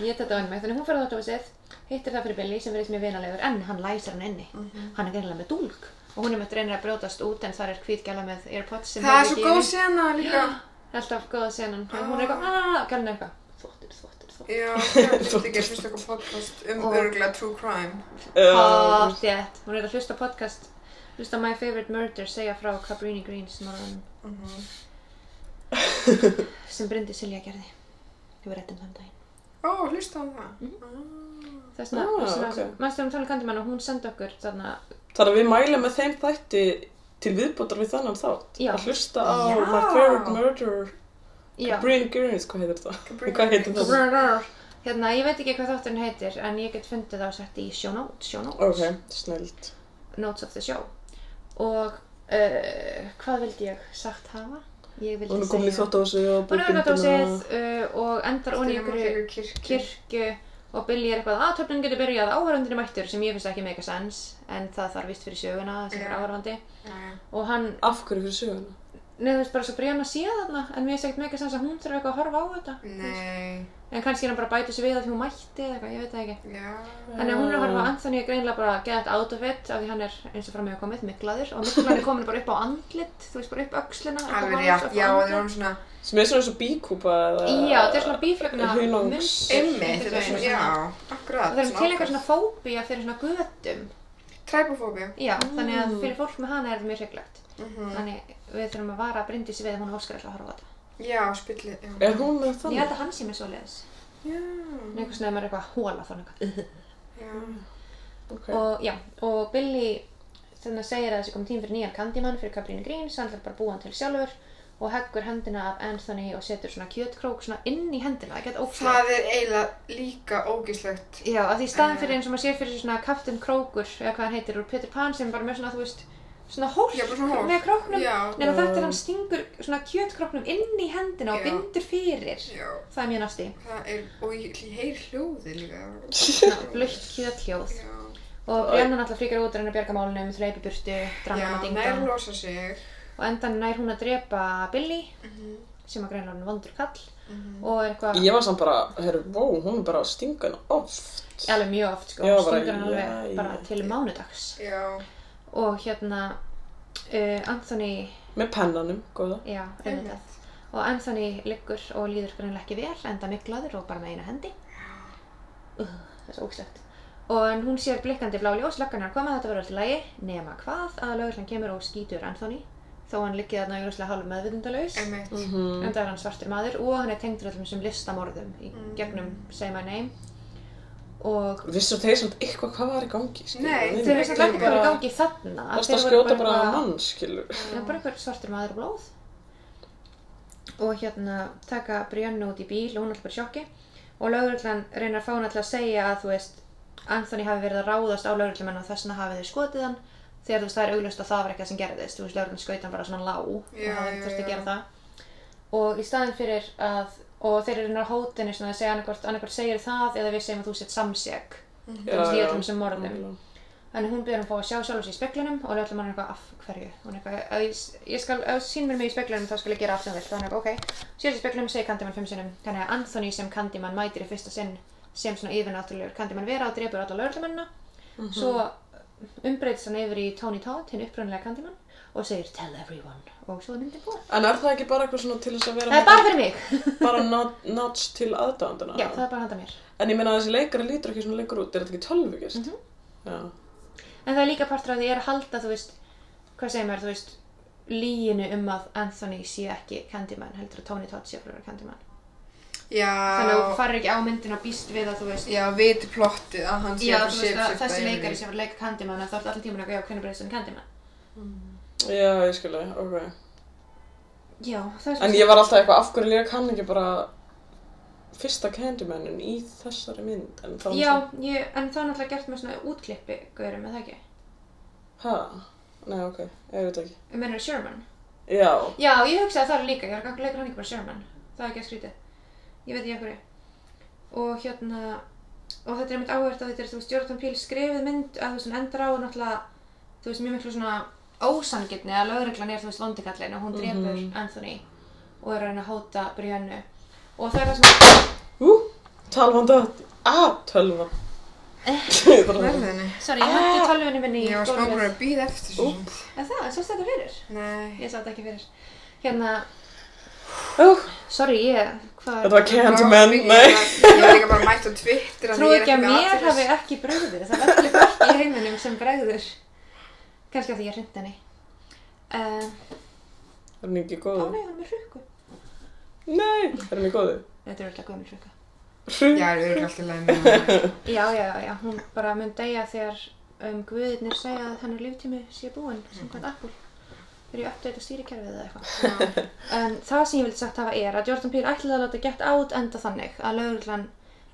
mig, ég þetta vann mig, þannig hún fyrir þátt á þessið, hittir það fyrir Billy sem verið mjög vinalegur, en hann læsir hann inni, Mhm. hann er gerðilega með dúlg og hún er með reynir að brjótast út en þar er hvítgæla með Airpods sem Það er hefur svo ekki í góð henni. sena líka. Alltaf góða senan, hún er eitthvað, aaaah, gælan er eitthvað, þvottir, þvottir, þvottir. Já, það er fyrst ekki fyrst eitthvað podcast um Og- örgulega true crime. Uh, Háþétt, hún er að hlusta á podcast hlusta á My Favorite Murder segja frá Cabrini Greens morðan Mhm. sem Bryndi Silja gerði við réttum um þann daginn Ó, hlusta á það. Mhm. þess vegna, Ah, þess vegna, ok. mannstu um talað kandimann og hún sendi okkur þarna, Þannig að við mælum með þeim þætti til viðbútar við þannan þátt. Já. Að hlusta á Já. My Favorite Murder já. Brain Gurus, hvað heitir það? Hvað heitir það? Hérna, ég veit ekki hvað þátturinn heitir en ég get fundið það og sett í show notes, show notes, Ok, snöld notes of the show og uh, hvað vildi ég sagt hafa? Ég vildi Hún er komin í segja þóttási og Hún er komin í bókbindina. þóttási uh, og endar onni í einhverju kirkir kirkju og Billy er eitthvað að töflun getur byrjað áhörfandin er mættur sem ég finnst ekki mega sens en það þarf vist fyrir söguna sem er Já. áhörfandi og hann, Af hverju fyrir söguna? neður veist bara svo Brianna sé þarna en mér finnst ekkert mega sens að hún þurfi eitthvað að horfa á þetta Nei, en kannski er hann bara að bæta sig við að því hún mætti eða eitthvað, ég veit það ekki já Þannig að hún er að Ah. horfa á Anthony er greinilega bara get out of it af því hann er eins og fram með komið miklaður og miklan er komin bara upp á andlit þú veist bara upp öxlina upp á Alveg háls, rétt, upp á já, andlit. það er svona Sem er svona eins og bíkúpa eða... Já, þetta er svona bíflögna Hunangs. Einmitt, þetta er einhvern svona, veginn. já, akkurat Það er til eitthvað svona fóbía fyrir svona götum Træpofóbíu Já, þannig að Mm. fyrir fólk með hana er þetta mjög hryggilegt Mhm. Þannig við þurfum að vara að brindi sig við að hún óskar alltaf að horfa á þetta Já, spilli, já Er hún með Ég þannig? held að hann sé mér svoleiðis Já, En einhvers veginn að maður er eitthvað að hóla þá er hann eitthvað já Ok. og, já, og Billy þannig að segir að þessi kom tím fyrir nýjan Candyman fyrir Cabrini Greens, hann ætlar bara að búa hann til sjálfur og heggur hendina af Anthony og setur svona kjötkrók svona inn í hendina það gett ókslega Það er eiginlega líka ógíslegt Já, af því staðan fyrir eins og maður sér fyrir sér svona Captain Krókur, eða hvað hann heitir, úr Peter Pan sem er bara með svona, þú veist, svona hólk Já, bara svona hólk. með króknum Já. nema þetta er hann stingur svona kjötkróknum inn í hendina og Já. bindur fyrir Já, það er mjög nasti, það er, og ég ég heyri hljóði líka svona blöitt kjöthljóð Já, og Brianna náttúrulega fríkar út að reyna að bjarga málunum, þreipi burtu, já, dramma nær og dingdang losa sig og endan nær hún að drepa Billy Mhm, sem að greinlega hann vondur kall mhm. og er eitthvað Ég var samt bara, herru, vó, hún er bara að stinga hana oft. alveg mjög oft sko, Já, bara, stingur hann alveg jæja. bara til mánudags Já, og hérna uh, Anthony, Með pennanum, góða. já, auðvitað einmitt og Anthony liggur og líður greinlega ekki vel enda miklaður og bara með eina hendi uh, það er svo ógslegt og en hún sér blikkandi blá ljós löggan er að koma þetta verður alltaf lægi nema hvað að lögurlan kemur og skýtur Anthony þó hann liggið þarna auðvitað hálf meðvindalaus Einmitt Mhm. enda er hann svartur maður og hann er tengdur öllum sem listamorðum í Mm. gegnum Say My Name og Vissu þeir samt eitthvað hvað var í gangi, skilur? Nei, þeir eru samt ekki hvað er í gangi. gangi þarna Það þeir að voru skjóta bara eitthvað- að mann, skilur. Já, bara einhver svartur maður og blóð og hérna taka Brianna út í bíl og hún er alltaf bara í sjokki og lauruglan reynir að fá hana til að segja að þú veist Anthony hafi verið að ráðast á lauruglumenn og þessna hafi þau skotið hann þegar þú veist það er auglust að það var eitthvað sem gerðist þú veist lauruglan skaut hann bara svona lág Já, og það já, þurfti að já. gera það og í staðin fyrir að og þeir eru náður hótinu svona að segja annarkvort annarkvort segir það eða við segjum að þú sett samseg Já, veist, í já. öllum þessum morðum. Nákvæmlega. Þannig hún byrður um að fá að sjá sjálf sér í speklinum og lögum hann eitthvað af hverju. Hún er eitthvað, ef ég, ég skal, ef þú sýn mér mig í speklinum þá skal ég gera allt sem þú vilt. Þannig eitthvað, ok. Sér sér í speklinum, segir Candyman fimm sinnum. Þannig að Anthony sem Candyman mætir í fyrsta sinn sem svona yfirnáttúrulegur Candyman vera og drepur alla lögumennina. Mhm. Svo umbreytist hann yfir í Tony Todd, hinn upprunalega Candyman og segir tell everyone og svo er myndin búin. En er það ekki bara eitthvað svona til þess að vera Það er bara fyrir mig! bara nod- nudge til aðdáðanduna? Já, það er bara handa mér. En ég meina að þessi leikari lítur ekki svona leikur út, er þetta ekki tölvugist? Mhm. Já. En það er líka partur af því er að halda, þú veist, hvað segir maður, þú veist, líginu um að Anthony sé ekki Candyman, heldur að Tony Todd sé að vera Candyman. Þannig að þú Já, farir ekki á myndin og býst við að þú veist, já, viti plottið að hann sé já, að þú fara veist að shape-shifta þessi yfir í- leikari sé að fara að leika Candyman, að þá er alltaf tíman að gauja hvernig breyðist hann í Candyman. Já, ég skilja, ok. Já, það er En ég var alltaf eitthvað, af hverju lék hann ekki bara fyrsta Candymanin í þessari mynd? En þá Já, ég, en það er náttúrulega gert með svona útklippi, gaurum, eða ekki? Hæ? Nei, ok, ég veit ekki. Ég meina Um Sherman. Já, Já, ég hugsaði það líka, ég var gangi leikur hann ekki bara Sherman. Það er ekki að skrítið. Ég veit ekki af hverju. Og hérna, og þetta er einmitt áhvert að þetta er, þú veist, Jordan Peele skrifið mynd að þú veist, hún endar á náttúrulega, þú veist, mjög miklu svona ósangirni að lögreglan er, þú veist, vondikallin og hún drefur Mhm. Anthony og er að reyna að hóta Briannu. Og það er það sem, ú, Ah, talvanda, að tölva. Eh, Ég þarf að- Verðinni sorry, ég hætti tölvunni minni í Ah, Ég var smá gólfið. búin að býða eftir svo sem. Er það, sást þetta fyrir? Nei Ég sá þetta ekki fyrir. Hérna, Ú, sorry, ég, hvað Þetta var Bara- Candyman, ég nei. var- Ég var líka bara mætt á Twitter af því Trú ég er ekki að með mér aðferðis- hafi ekki bröður, það er allir fólk í heiminum sem bröður. Kannski af því ég hreint henni. Uh, Er hann ekki á góður? nei, hún er með hrukku. Nei, er hann ekki góður? Þetta er alltaf gömul hrukka. Já, það eru alltaf leið með hana. Já, já, já, hún bara Mhm. mun deyja þegar um, guðirnir segja að hennar líftími sé búinn, sem hvað Apple. Þeir er ég að uppdata stýrikerfið eða eitthvað Já. en það sem ég vildi sagt hafa er að Jordan Peele ætlaði að láta Get Out enda þannig að lögurlan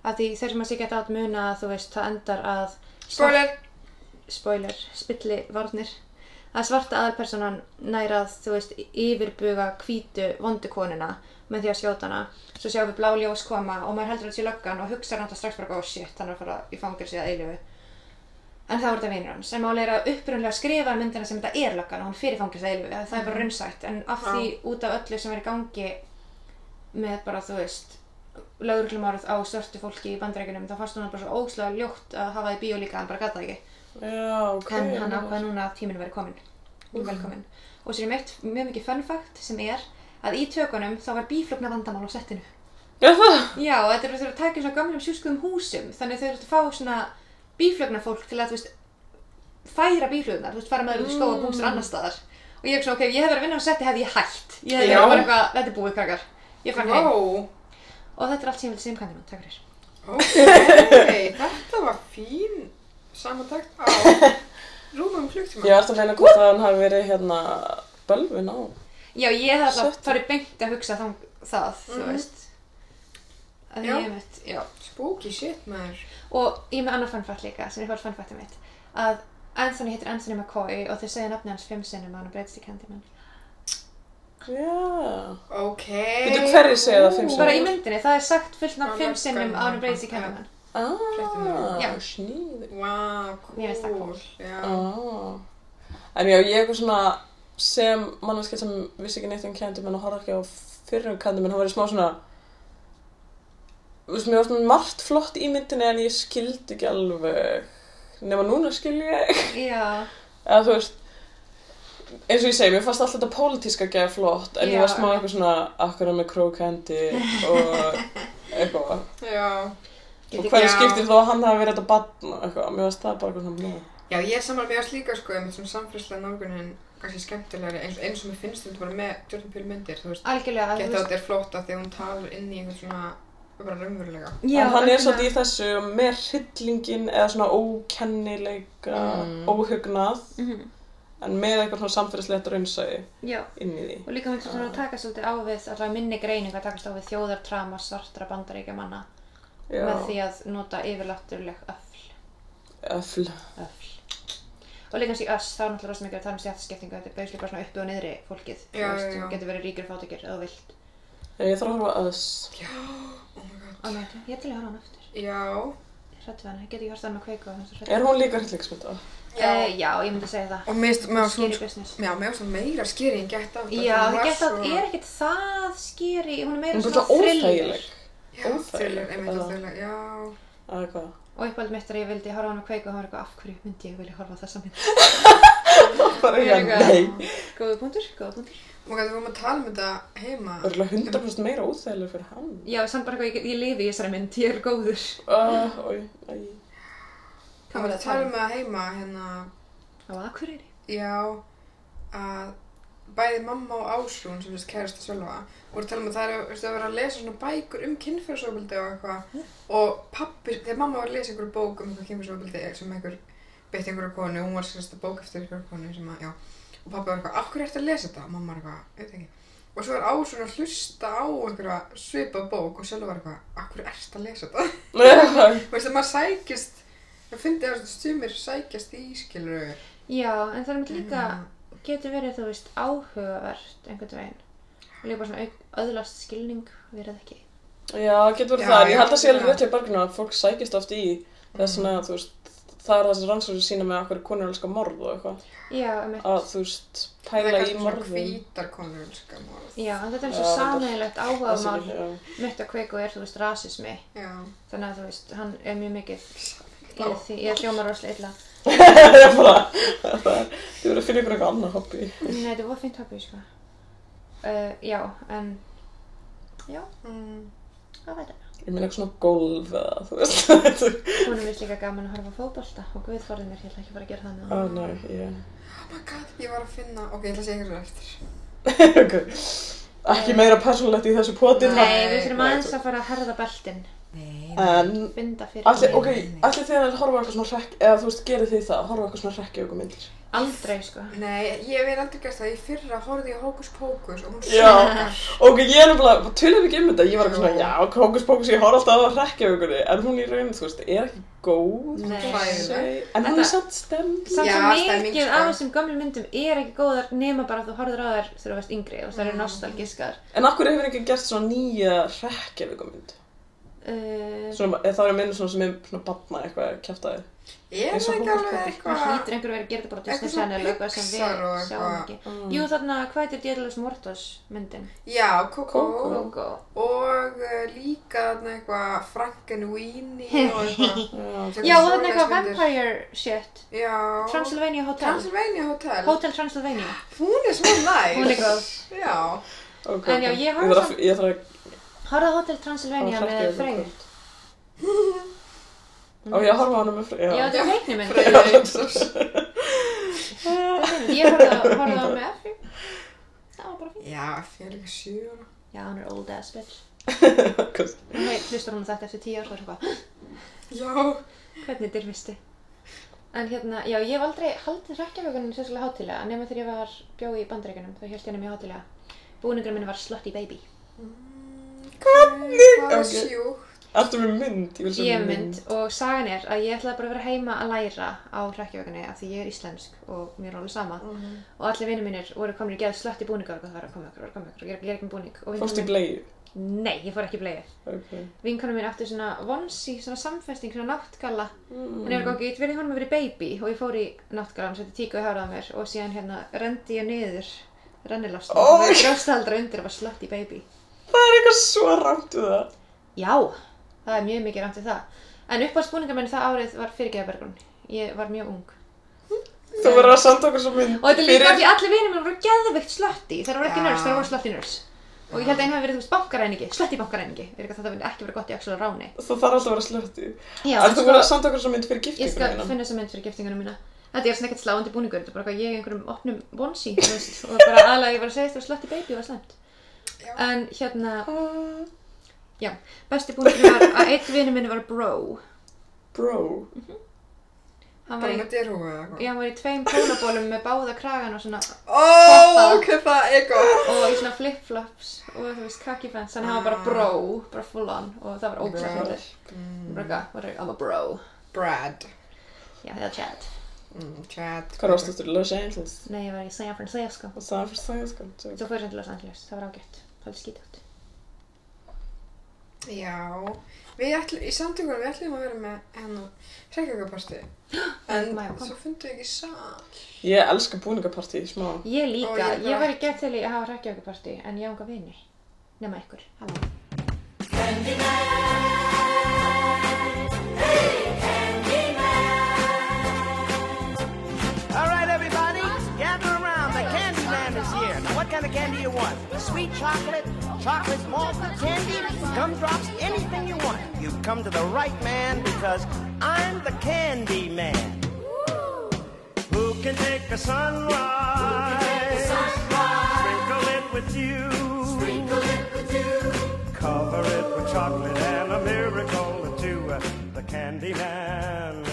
að því þeir sem að sé Get Out muna að þú veist það endar að Spoiler! spoiler, spilli varnir að svarta aðalpersonan nærað þú veist, yfirbuga hvítu vondukonuna með því að skjóta hana svo sjáum við blá ljós koma og maður heldur að þetta sé löggan og hugsa náttúrulega strax bara, oh shit, hann er að fara í fangilsi að eilífu en það voru þetta vinur hans en máli er að upprunlega skrifa myndina sem þetta er löggan og hún fyrir fangilsi að eilífu það er bara raunsætt en af því út af öllu sem er í gangi með bara, þú veist lögreglumárið á svörtu fólki í bandreikunum þá fannst hún bara svo óslega ljótt að hafa það í bíó líka hann bara gata það ekki Já, ok. en hann ákvaði núna að tíminn væri komin og velkomin og sér meitt mjög mikið fun fact sem er að í tökunum þá var bíflugna vandamál á settinu Já, það. já, og þetta eru þeir eru að taka í svona gamlum sjúskuðum húsum þannig þau eru að fá svona bíflugna fólk til að þú veist færa bíflugnar, þú veist fara með þeir út í skóa og bústur annar staðar og ég er svona, ok, ef ég hef verið að vinna á setti hefði ég hætt ég hefði Já. verið bara eitthvað, þetta er búið krakkar ég fann heim Wow! og þetta er allt sem ég vil segja um kantinum, takk fyrir Ok, þetta var fín samantakt á rúmum klukkutíma. Ég var alltaf að meina hvort að hann hafi verið hérna bölvun á. já, ég hef alltaf Setti. farið beint að hugsa þang, það, þú Mhm. veist að Já. ég mitt, já Spooky shit maður. og ég er með annað fannfætt líka sem er bara fannfættið mitt að Anthony heitir Anthony McCoy og þau segja nafni hans fimm sinnum að hann breytist í Candyman Já. Ok. Bíddu, hverjir segja það fimm sinnum? bara í myndinni, það er sagt fullt nafn Hann fimm var sinnum skömmin. að hann breytist í Candyman Ah, Já. snýður. Vá, cool. Mér finnst það cool. Já. Ah. En já, ég er eitthvað svona sem manneskja sem vissi ekki neitt um kendumenn og horfði ekki á fyrrum kendumenn, hún verið smá svona Þú veist, mér var svona margt flott í myndinni en ég skildi ekki alveg nema núna skil ég já, eða þú veist eins og ég segi, mér fannst alltaf þetta pólitíska geða flott en ég var Já, smá ok. eitthvað svona akkur með krókendi og eitthvað Já. og Ég- hverju já. skiptir þó að hann hafi verið þetta batna eitthvað, mér fannst það bara eitthvað svona blöð. Já, ég er samanlega mjög slíka sko, með þessum samfélagslega nálgunin kannski skemmtilegri, eins, eins og mér finnst þetta bara með Jordan Peele myndir, þú veist, algjörlega að geta þetta er flott af því að hún talar inn í einhvern svona, bara raunverulega. já, en hann er algjörlega. svolítið í þessu með hryllingin eða svona ókennileika Mm. óhugnað Mhm. en með eitthvað svona samfélagslegt raunsæði já, inn í því og líka mér finnst svona að taka svolítið á við allavega minni greining að takast á við þjóðartrama svartra bandaríkja manna Já, með því að nota yfirlátturleg öfl öfl öfl og líka kannski öss, þá er náttúrulega rosa mikið að tala um stjættaskiptingu þetta er basically bara svona uppi og niðri fólkið þú Já, veist, já, já. þú getur verið ríkur fátekir eða þú vilt Þegar ég þarf að horfa að þess Oh my god. Á nætu. ég er til að horfa á hann aftur Já. ég hrættu hana, ég get ekki horfa hann að kveika og þannig Er hún líka hryllingsmynda? já. Eh, já, ég myndi segja það Eh, Og mér finnst, mér finnst hún skýri sko, business já, mér finnst hún meira skýri en gett á já, það gett sko. að er ekkert það skýri hún er meira Hún er svona bara thriller óþægileg Já, thriller, einmitt eða- og thriller, já. Eða hvað? og uppáld mitt er að ég vildi horfa á hann að kveika og hann var eitthvað af hverju myndi ég vilja horfa á þessa mynd Bara Ég er eitthvað, nei góða punktur, góða punktur Og við vorum að tala um þetta heima. Örgulega 100% meira óþægileg fyrir hann já, samt bara eitthvað, ég, ég lifi í þessari mynd, ég er góður Ah, oj, æj. Við vorum að tala um það heima, hérna, á Akureyri já, að bæði mamma og Ásrún, sem finnst kærasta Sölva, voru að tala um að það er veistu, að vera að lesa svona bækur um kynfyrirsofbildi og eitthvað. Og pappi, þegar mamma var að lesa einhverju bók um eitthvað kynfyrirsofbildi sem einhver beitt einhverju konu, hún var að skrifast bók eftir einhverju konu sem að, já. Og pappi var eitthvað, af hverju ertu að lesa þetta? Og Mamma var eitthvað, eitthvað ekki. Og svo er Ásrún að hlusta á einhverja svipa bók og Sölva var eitthvað, af hverju ertu að lesa þetta? Nei, Þú veist að maður sækist, ég fyndi að stumir sækjast í skilur. já, en það er mér líka Ah. getur verið, þú veist, áhugavert einhvern veginn og líka bara svona auk- öðlast skilning við erum það ekki Já, getur verið Já, það, en ég já, held að sé alveg já. rétt í berginu að fólk sækist oft í þess Mm. svona, þú veist, það er það sem rannsóknir sína með okkur konur elska morð og eitthvað já, um að, þú veist, pæla í morðum Hvítar konur sko, um elska morð. já, en þetta er Já, svo þetta er- sameiginlegt Það sé áhugamál ekki, já. mitt og kveiku er, þú veist, rasismi Já. þannig að þú veist, hann er mjög mikið í Já. því, ég hljóma rosalega illa Það er bara, það er, þið verður að finna ykkur eitthvað annað hobby nei, þetta voru fint hobby, sko uh, já, en já, Mm. hvað veit það Ég meina eitthvað svona golf eða, þú veist hún er vist líka gaman að horfa á fótbolta og guðforðin er hérna ekki bara að gera það með Ó, hann næ, ég, Oh my god, ég var að finna, ok, ég ætla að segja ykkur það eftir. ok Ekki meira persónulegt í þessu poti Nei. nei, við þurfum nei, aðeins þú- að fara að herða beltin Nei. En, binda fyrir allir, hann. ok, allir þegar að horfa á eitthvað svona rekk, eða þú veist, gerið þið það, horfa á eitthvað svona rekk í aukum myndir Aldrei, sko. Nei, ég veit aldrei gert það. Í fyrra horfði ég á Hókus Pókus og hún Já. sögur. Ok, ég er nefnilega, tölum við ekki um þetta, ég var eitthvað svona, já, hókus pókus, ég horf alltaf að rekja ykkur, en hún í raunin, þú veist, er ekki góð, Nei. má ég segja. en Þetta- hún er samt stemd. Samt Já, svo stemming, mikið sko. af þessum gömlum myndum er ekki góðar nema bara að þú horfður á þær þegar þú veist yngri og það eru nostalgískar. En akkur hefur ekki gert svona nýja rekja ykkur mynd? Uh, Svona, eða það eru myndir svona sem er svona batna eitthvað, kæfta þið. Ég Eins veit og ekki alveg Hókus það Pókus. eitthvað. hlýtur einhver verið að gera þetta bara á Eitthvað Disney svona Channel og eitthvað sem Pixar og við sjáum eitthvað. ekki. Jú, þarna, hvað heitir Dietalus Mortos myndin? Já, Kókó. Kókó. Gogo. Og uh, líka þarna eitthvað Frankenweenie og eitthvað. Já, Já, og þarna Svoleiðis eitthvað myndir. Vampire shit. Já. Transylvania Hotel. Transylvania Hotel. Hotel Transylvania. Hún er smá næst. Hún er góð. Já. ok. En já, ok. ég horf þarf samt- að- Ég þarf að Horfðu á Hotel Transylvania að með hrekkja Freyr. ykkur. Ó, ég horfa á hana með Freyr, Já, já. þetta er teiknumynd. Freyja Einsdóttir. Ég horfði á- horfði á með Afri. Það var bara fínt. Já, fyrir líka sjö ára. Já, hann er old ass bitch. Kost. Hún hei- hlustar hún á þetta eftir tíu ár og er eitthvað, Já. hvernig dyrfisti? En hérna, já, ég hef aldrei haldið hrekkjavögunum sérstaklega hátilega, nema þegar ég var bjóð í bandaríkjunum, þá held ég henni mjög hátilega. Búningur minn var Slutty Baby. Hvernig? Það er Ok. sjúkt. Ertu með mynd? Ég vil sjá Ég hef mynd og sagan er að ég ætlaði bara að vera heima að læra á hrekkjavögunni af því ég er íslensk og mér er alveg sama. Og allir vinnir mínir voru komin í geð slötti búningar og það var að koma okkur, var að koma okkur, og ég er ekki- ég er ekki með búning. Og vinkona Fórstu í mín- bleiðu? Nei, ég fór ekki í bleiðu. Ok. Vinkonu mín átti svona vonsi, svona samfesting, svona náttgalla En ég var ekki, ég verði honum að vera baby og ég fór í náttgaran, setti tíku í hárað á mér og síðan hérna rendi ég niður rennilástum Oh og my það grósta aldrei undir og var slötti baby. Það er eitthvað svo rámt við það. Já, það er mjög mikið rangt við það. En uppáhaldsbúningar minn það árið var fyrirgeðabergrun. Ég var mjög ung. Þú verður að senda okkur svo mynd Og þetta er líka af því allir vinir minn voru geðveikt slötti. Þeir voru ekki Já. nörs, þeir voru slötti nörs. Og ég held að einu hafi verið, þú veist, bankaræningi, slötti bankaræningi. Ég er ekki að þetta myndi ekki verið gott í axel og ráni. Þú þarf alltaf að vera slötti Já, En en þú sko, verður að senda okkur svo mynd fyrir ég giftinguna skal þína. finna þessa mynd fyrir giftinguna mína. Þetta er svona ekkert sláandi búningur, þetta er bara hvað ég í einhverjum opnum vonsi, þú veist, og bara aðlega ég var að segja þetta slötti baby var slæmt. Já. En hérna, Ah, já, besti búningur var að einn vinnu minni var bro. Bro Hann var Bara í, með derhúi eða eitthvað. já, hann var í tveim pólabólum með báða kragan og svona, Ó, Poppa. ok, það er góð. og í svona flip-flops og þú veist, kakifans, hann var bara bro, bara full on og það var ógæslega Bro. hundur. Bara eitthvað, bara, I'm a bro. Brad. Já, eða Chad. Mm, Chad. Hvað er ástættur? Los Angeles Nei, ég var í San Francisco. Og það er fyrir það sko Þú fyrir til Los Angeles, það var ágætt, það var skítugt. Já, við ætlum, í samtíkunum við ætlum að vera með hennu hrekkjöngaparti. En Má ég koma? svo fundum við ekki sal. Ég elska búningapartí, smá Ég líka, Og ég ég, bara- var í gett til í að hafa rekkjavíkupartí en ég ánga vini, nema ykkur, halló. All right, everybody, gather around. The candy man is here. Now, what kind of candy you want? Sweet chocolate, chocolate malt candy, gumdrops, anything you want. You've come to the right man because I'm the candy man. Who can take a sunrise? Sprinkle it with you. Sprinkle it with you. Cover it with chocolate and a miracle or two. The candy man.